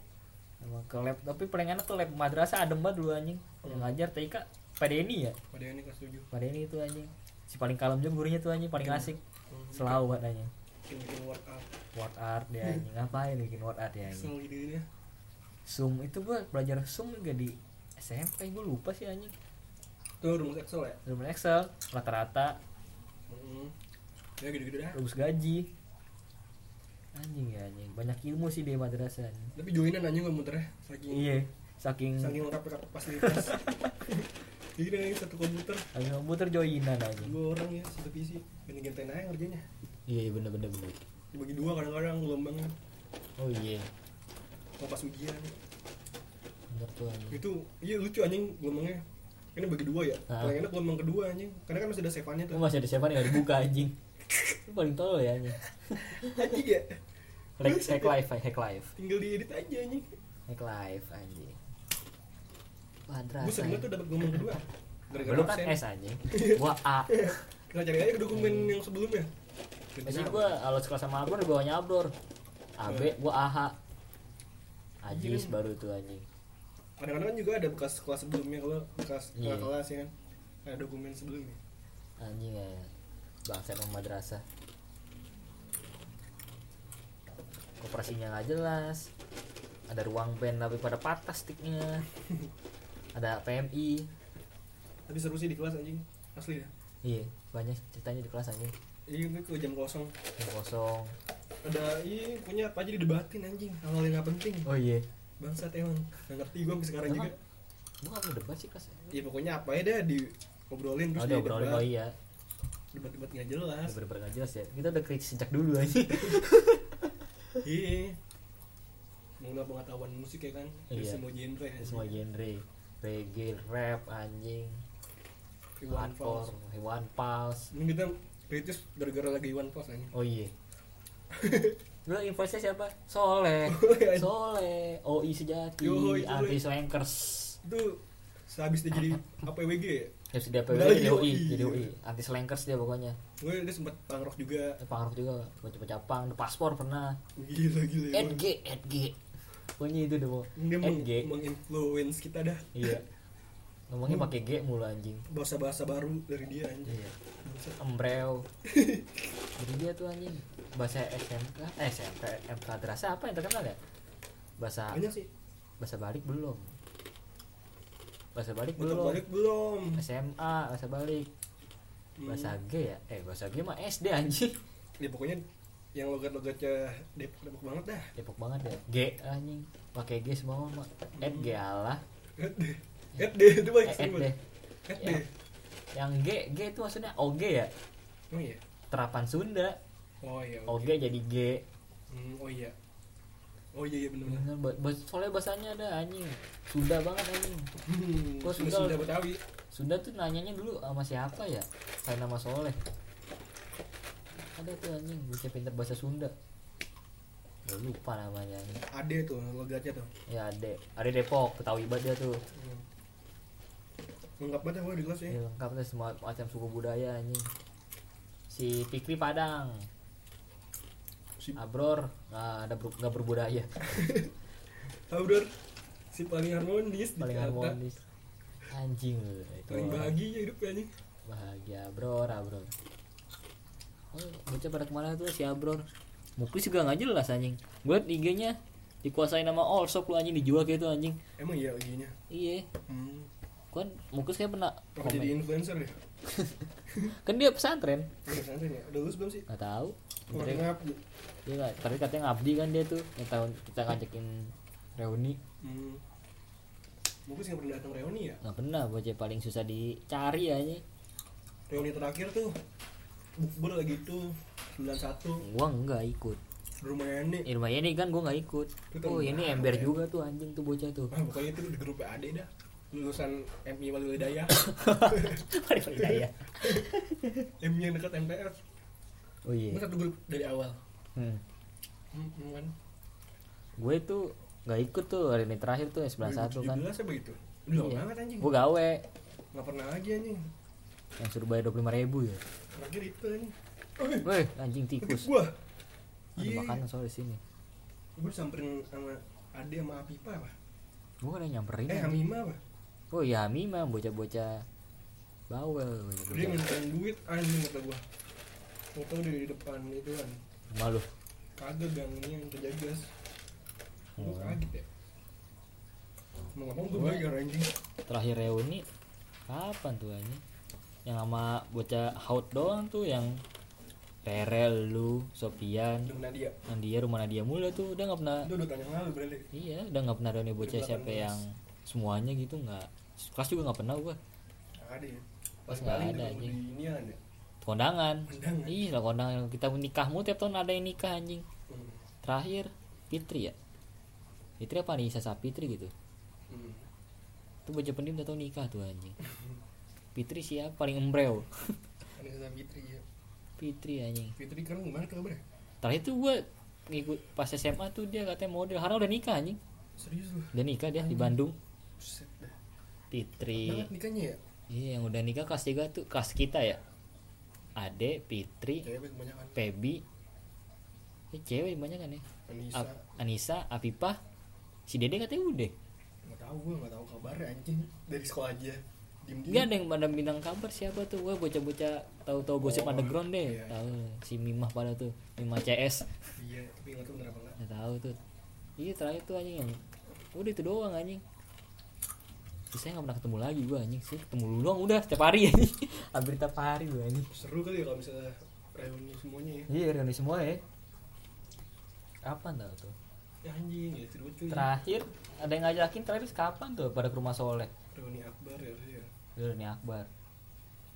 Sama ke lab tapi paling enak tuh lab madrasah adem banget dulu anjing yang ngajar TIK Pak Denny ya pada ini kelas tujuh Pak Denny itu anjing Hmm. si paling kalem juga gurunya tuh anjing paling asik selalu banget anjing bikin bikin workout word art dia anjing ngapain bikin word art ya anjing semua gitu ya Zoom itu gua belajar Zoom juga di SMP gua lupa sih anjing tuh rumus Excel ya Zoom Excel rata-rata Mm. ya gitu-gitu dah lulus gaji anjing ya anjing banyak ilmu sih di madrasah anjing. tapi joinan anjing gak muter ya saking iya saking saking lengkap lengkap [laughs] fasilitas jadi dengan satu komputer saking komputer joinan anjing dua orang ya satu PC ganti gantiin aja ngerjainnya iya iya, bener bener bener dibagi dua kadang-kadang lombangan oh iya mau pas ujian bener tuh anjing itu iya lucu anjing gelombangnya ini bagi dua ya Ah. paling enak gelombang kedua anjing karena kan masih ada sepannya lu tuh masih ada siapa nih gak dibuka anjing lu paling tolol ya anjing anjing ya hack, hack life hack life tinggal diedit aja anjing hack life anjing madrasah gue sering banget tuh dapat gelombang kedua gara-gara Lu Nah, kan absen. S anjing Gua A kita cari aja ke dokumen yang sebelumnya Hmm. Gitu. Jadi gua alat sekolah sama Abnur gua nyablor AB gua AH Ajis Iya. baru tuh anjing kadang-kadang kan juga ada bekas kelas sebelumnya kalau bekas Iya. kelas ya kan ada dokumen sebelumnya Anjing ya Bangsa emang madrasah Koperasinya nggak jelas Ada ruang band tapi pada patah sticknya [laughs] Ada PMI tapi seru sih di kelas anjing asli ya Iya banyak ceritanya di kelas anjing iya gue ke jam kosong Yang kosong ada iya punya apa aja didebatin anjing hal-hal yang gak penting Oh iya bangsat emang gak ngerti gue sampai sekarang Emang? juga Gua gak mau debat sih kelas ya pokoknya apa ya dah diobrolin Oh terus dia obrolin oh didebat iya debat-debat gak jelas Bener-bener nggak jelas ya Kita udah kritis sejak dulu [laughs] anjing iya mengenal pengetahuan musik ya kan dari Iya. semua genre ya Ini semua genre reggae rap anjing Iwan hardcore Fals hewan pals ini kita kritis gara-gara lagi Iwan Fals anjing [laughs] oh iya lu invoice siapa soleh Ya, soleh oi sejati Kan. Yo, itu anti Soleh. slankers itu sehabis dia jadi APWG ya ya sudah PW Nah, jadi iya, oi iya. jadi oi anti slankers dia pokoknya gue dia sempet pangrok juga pangrok juga coba capang the paspor pernah gila gila emang. edg edg pokoknya itu deh dia meng- edg menginfluence kita dah iya ngomongnya pakai g mulu anjing bahasa-bahasa baru dari dia anjing iya [laughs] embreo jadi dia tuh anjing bahasa SMK eh SMK MK terasa apa yang terkenal ya bahasa banyak sih bahasa balik belum bahasa balik Untuk belum balik belum SMA bahasa balik Hmm. bahasa G ya eh bahasa G mah SD anjing ya pokoknya yang logat-logatnya depok depok banget dah Depok banget ya G anjing pakai G semua mah Ed G alah Ed Ed deh itu eh, baik Ed deh Ed Ya. deh yang G G itu maksudnya OG ya oh iya terapan Sunda oh iya OG jadi G Hmm, oh iya oh iya iya benar-benar Bener, ba- ba- soalnya bahasanya ada anjing Sunda banget anjing hmm, Gua sudah suka. sudah betawi Sunda tuh nanyanya dulu sama siapa ya? Saya nama Soleh. Ada tuh anjing bisa pintar bahasa Sunda. Gua lupa namanya anjing. ade tuh logatnya tuh Ya Ade, Ade Depok, Betawi banget dia tuh. hmm. Hmm. lengkap banget gue di kelas ya Dia lengkap tuh semua macam suku budaya anjing. Si Pikri Padang, si Abror, nah, ada ber- nggak [laughs] berbudaya, Abdur si paling harmonis di paling kata. harmonis. Anjing lu, itu. paling bahagia hidupnya anjing Bahagia Abror, Abror. Oh, bocah pada kemana tuh si Abror? Muklis juga nggak jelas anjing. Gue liat IG-nya dikuasain sama all shop lu anjing dijual kayak itu anjing. emang iya IG-nya Iya, hmm. kan Muklis kayak pernah Apa jadi komen. influencer ya Kan dia pesantren. udah santai ya udah lulus belum sih Gak tahu. Wah, Tapi ngap dia nggak- tapi katanya ngabdi kan dia tuh. Yang tahun kita ngajakin reuni hmm. mungkin sih nggak pernah datang reuni ya nggak pernah bocah paling susah dicari anjing. reuni terakhir tuh bukber lagi tuh 91 Gua nggak ikut. di rumah nenek Di rumah ini kan gua nggak ikut. Itu Oh tahun ini berapa ember ya? juga tuh anjing tuh bocah tuh. [laughs] Nah, pokoknya itu di grup ade dah lulusan MI [coughs] Walidaya Paling ya. budaya. MI yang dekat MTR Oh iya. Ini satu grup dari awal Hmm. hmm, hmm, kan gue itu nggak ikut tuh hari ini terakhir tuh yang 91 kan 2017 apa gitu udah lama Iya. banget anjing gue gawe nggak pernah lagi anjing yang suruh bayar dua puluh ribu ya terakhir itu anjing Wih, weh anjing ikut tikus gua ada Iya. makanan soal di sini gua disamperin sama Ade sama Apipa apa gua kan yang nyamperin eh anjing. Hamima apa oh ya Hamima bocah-bocah bawel dia bocah-bocah mintain duit anjing kata gua nggak tahu dia di depan itu kan malu kagak gangnya yang terjagas Oh. gua kaget ya mau ngomong gua bayar anjing terakhir reuni kapan tuh anjing yang sama bocah haut doang tuh yang Rere lu Sofian Udah pernah dia Nadia rumah Nadia mulu tuh udah nggak pernah itu udah tanya lalu berarti iya udah nggak pernah ada nih bocah siapa 2018. yang semuanya gitu nggak kelas juga nggak pernah gua Nggak ada ya Pas nggak Paling- paling ada, kalau anjing. di ini ada kan? kondangan Kondangan. iya lah kondangan kita nikahmu tiap tahun ada yang nikah anjing Hmm. terakhir Fitri ya Fitri apa nih Sasa Fitri gitu Hmm. tuh bocah pendiam udah tau nikah tuh anjing Fitri siapa paling embreo Anissa Fitri ya Fitri anjing Fitri kan gimana kabarnya terakhir tuh gue ngikut pas SMA tuh dia katanya model karena udah nikah anjing serius lu udah nikah dia di Bandung Buset dah. Fitri banget nikahnya ya iya yang udah nikah kelas 3 tuh kelas kita ya Ade Fitri cewek kebanyakan Pebi ya cewek banyak kan ya Anissa Ap- Anissa Apipah si Dede katanya udah nggak tahu gue nggak tahu kabarnya anjing dari sekolah aja diem Gak diem ada yang pada bintang kabar siapa tuh gue bocah-bocah tahu-tahu gosip Oh, underground deh iya. tahu si Mimah pada tuh Mimah CS iya tapi nggak tahu kenapa nggak nggak tahu tuh iya terakhir tuh anjing yang udah itu doang anjing saya nggak pernah ketemu lagi gue anjing sih ketemu lu doang udah setiap hari anjing hampir tiap hari gue anjing seru kali ya kalau misalnya reuni semuanya ya iya reuni semua ya kapan tau tuh ya anjing ya seru cuy terakhir ada yang ngajakin terakhir kapan tuh pada ke rumah soleh reuni akbar ya ya reuni akbar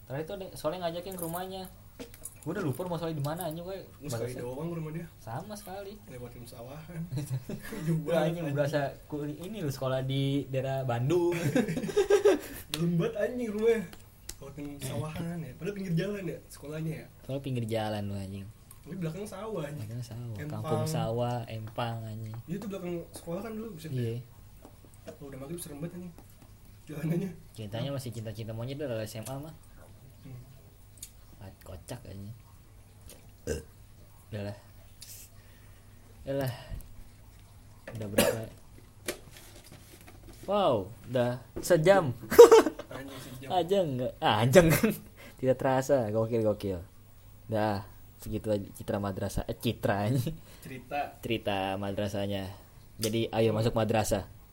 terakhir tuh ada soleh ngajakin ke rumahnya gue udah lupa rumah soleh di mana anjing gue nggak sekali doang ke rumah dia sama sekali lewatin sawahan [laughs] gue juga anjing berasa kul- ini lu sekolah di daerah [laughs] Bandung belum banget anjing rumahnya lewatin sawahan ya padahal pinggir jalan ya sekolahnya ya soalnya pinggir jalan lu anjing tapi belakang sawah anjing Padahal sawah, Empang. kampung sawah, empang anjing. itu tuh belakang sekolah kan dulu bisa Iya. kalau udah maghrib serem banget anjing jalanannya Ceritanya masih cinta-cinta monyet dari SMA mah. Hmm. Ah, Kocak aja. Udah lah. Udah lah. Udah berapa? Wow, udah sejam anjing sejam aja enggak? Ah, aja kan. [laughs] Tidak terasa, gokil gokil. Dah, segitu aja citra [laughs] madrasah, eh, citra anjing. cerita cerita madrasahnya. Jadi ayo masuk madrasah.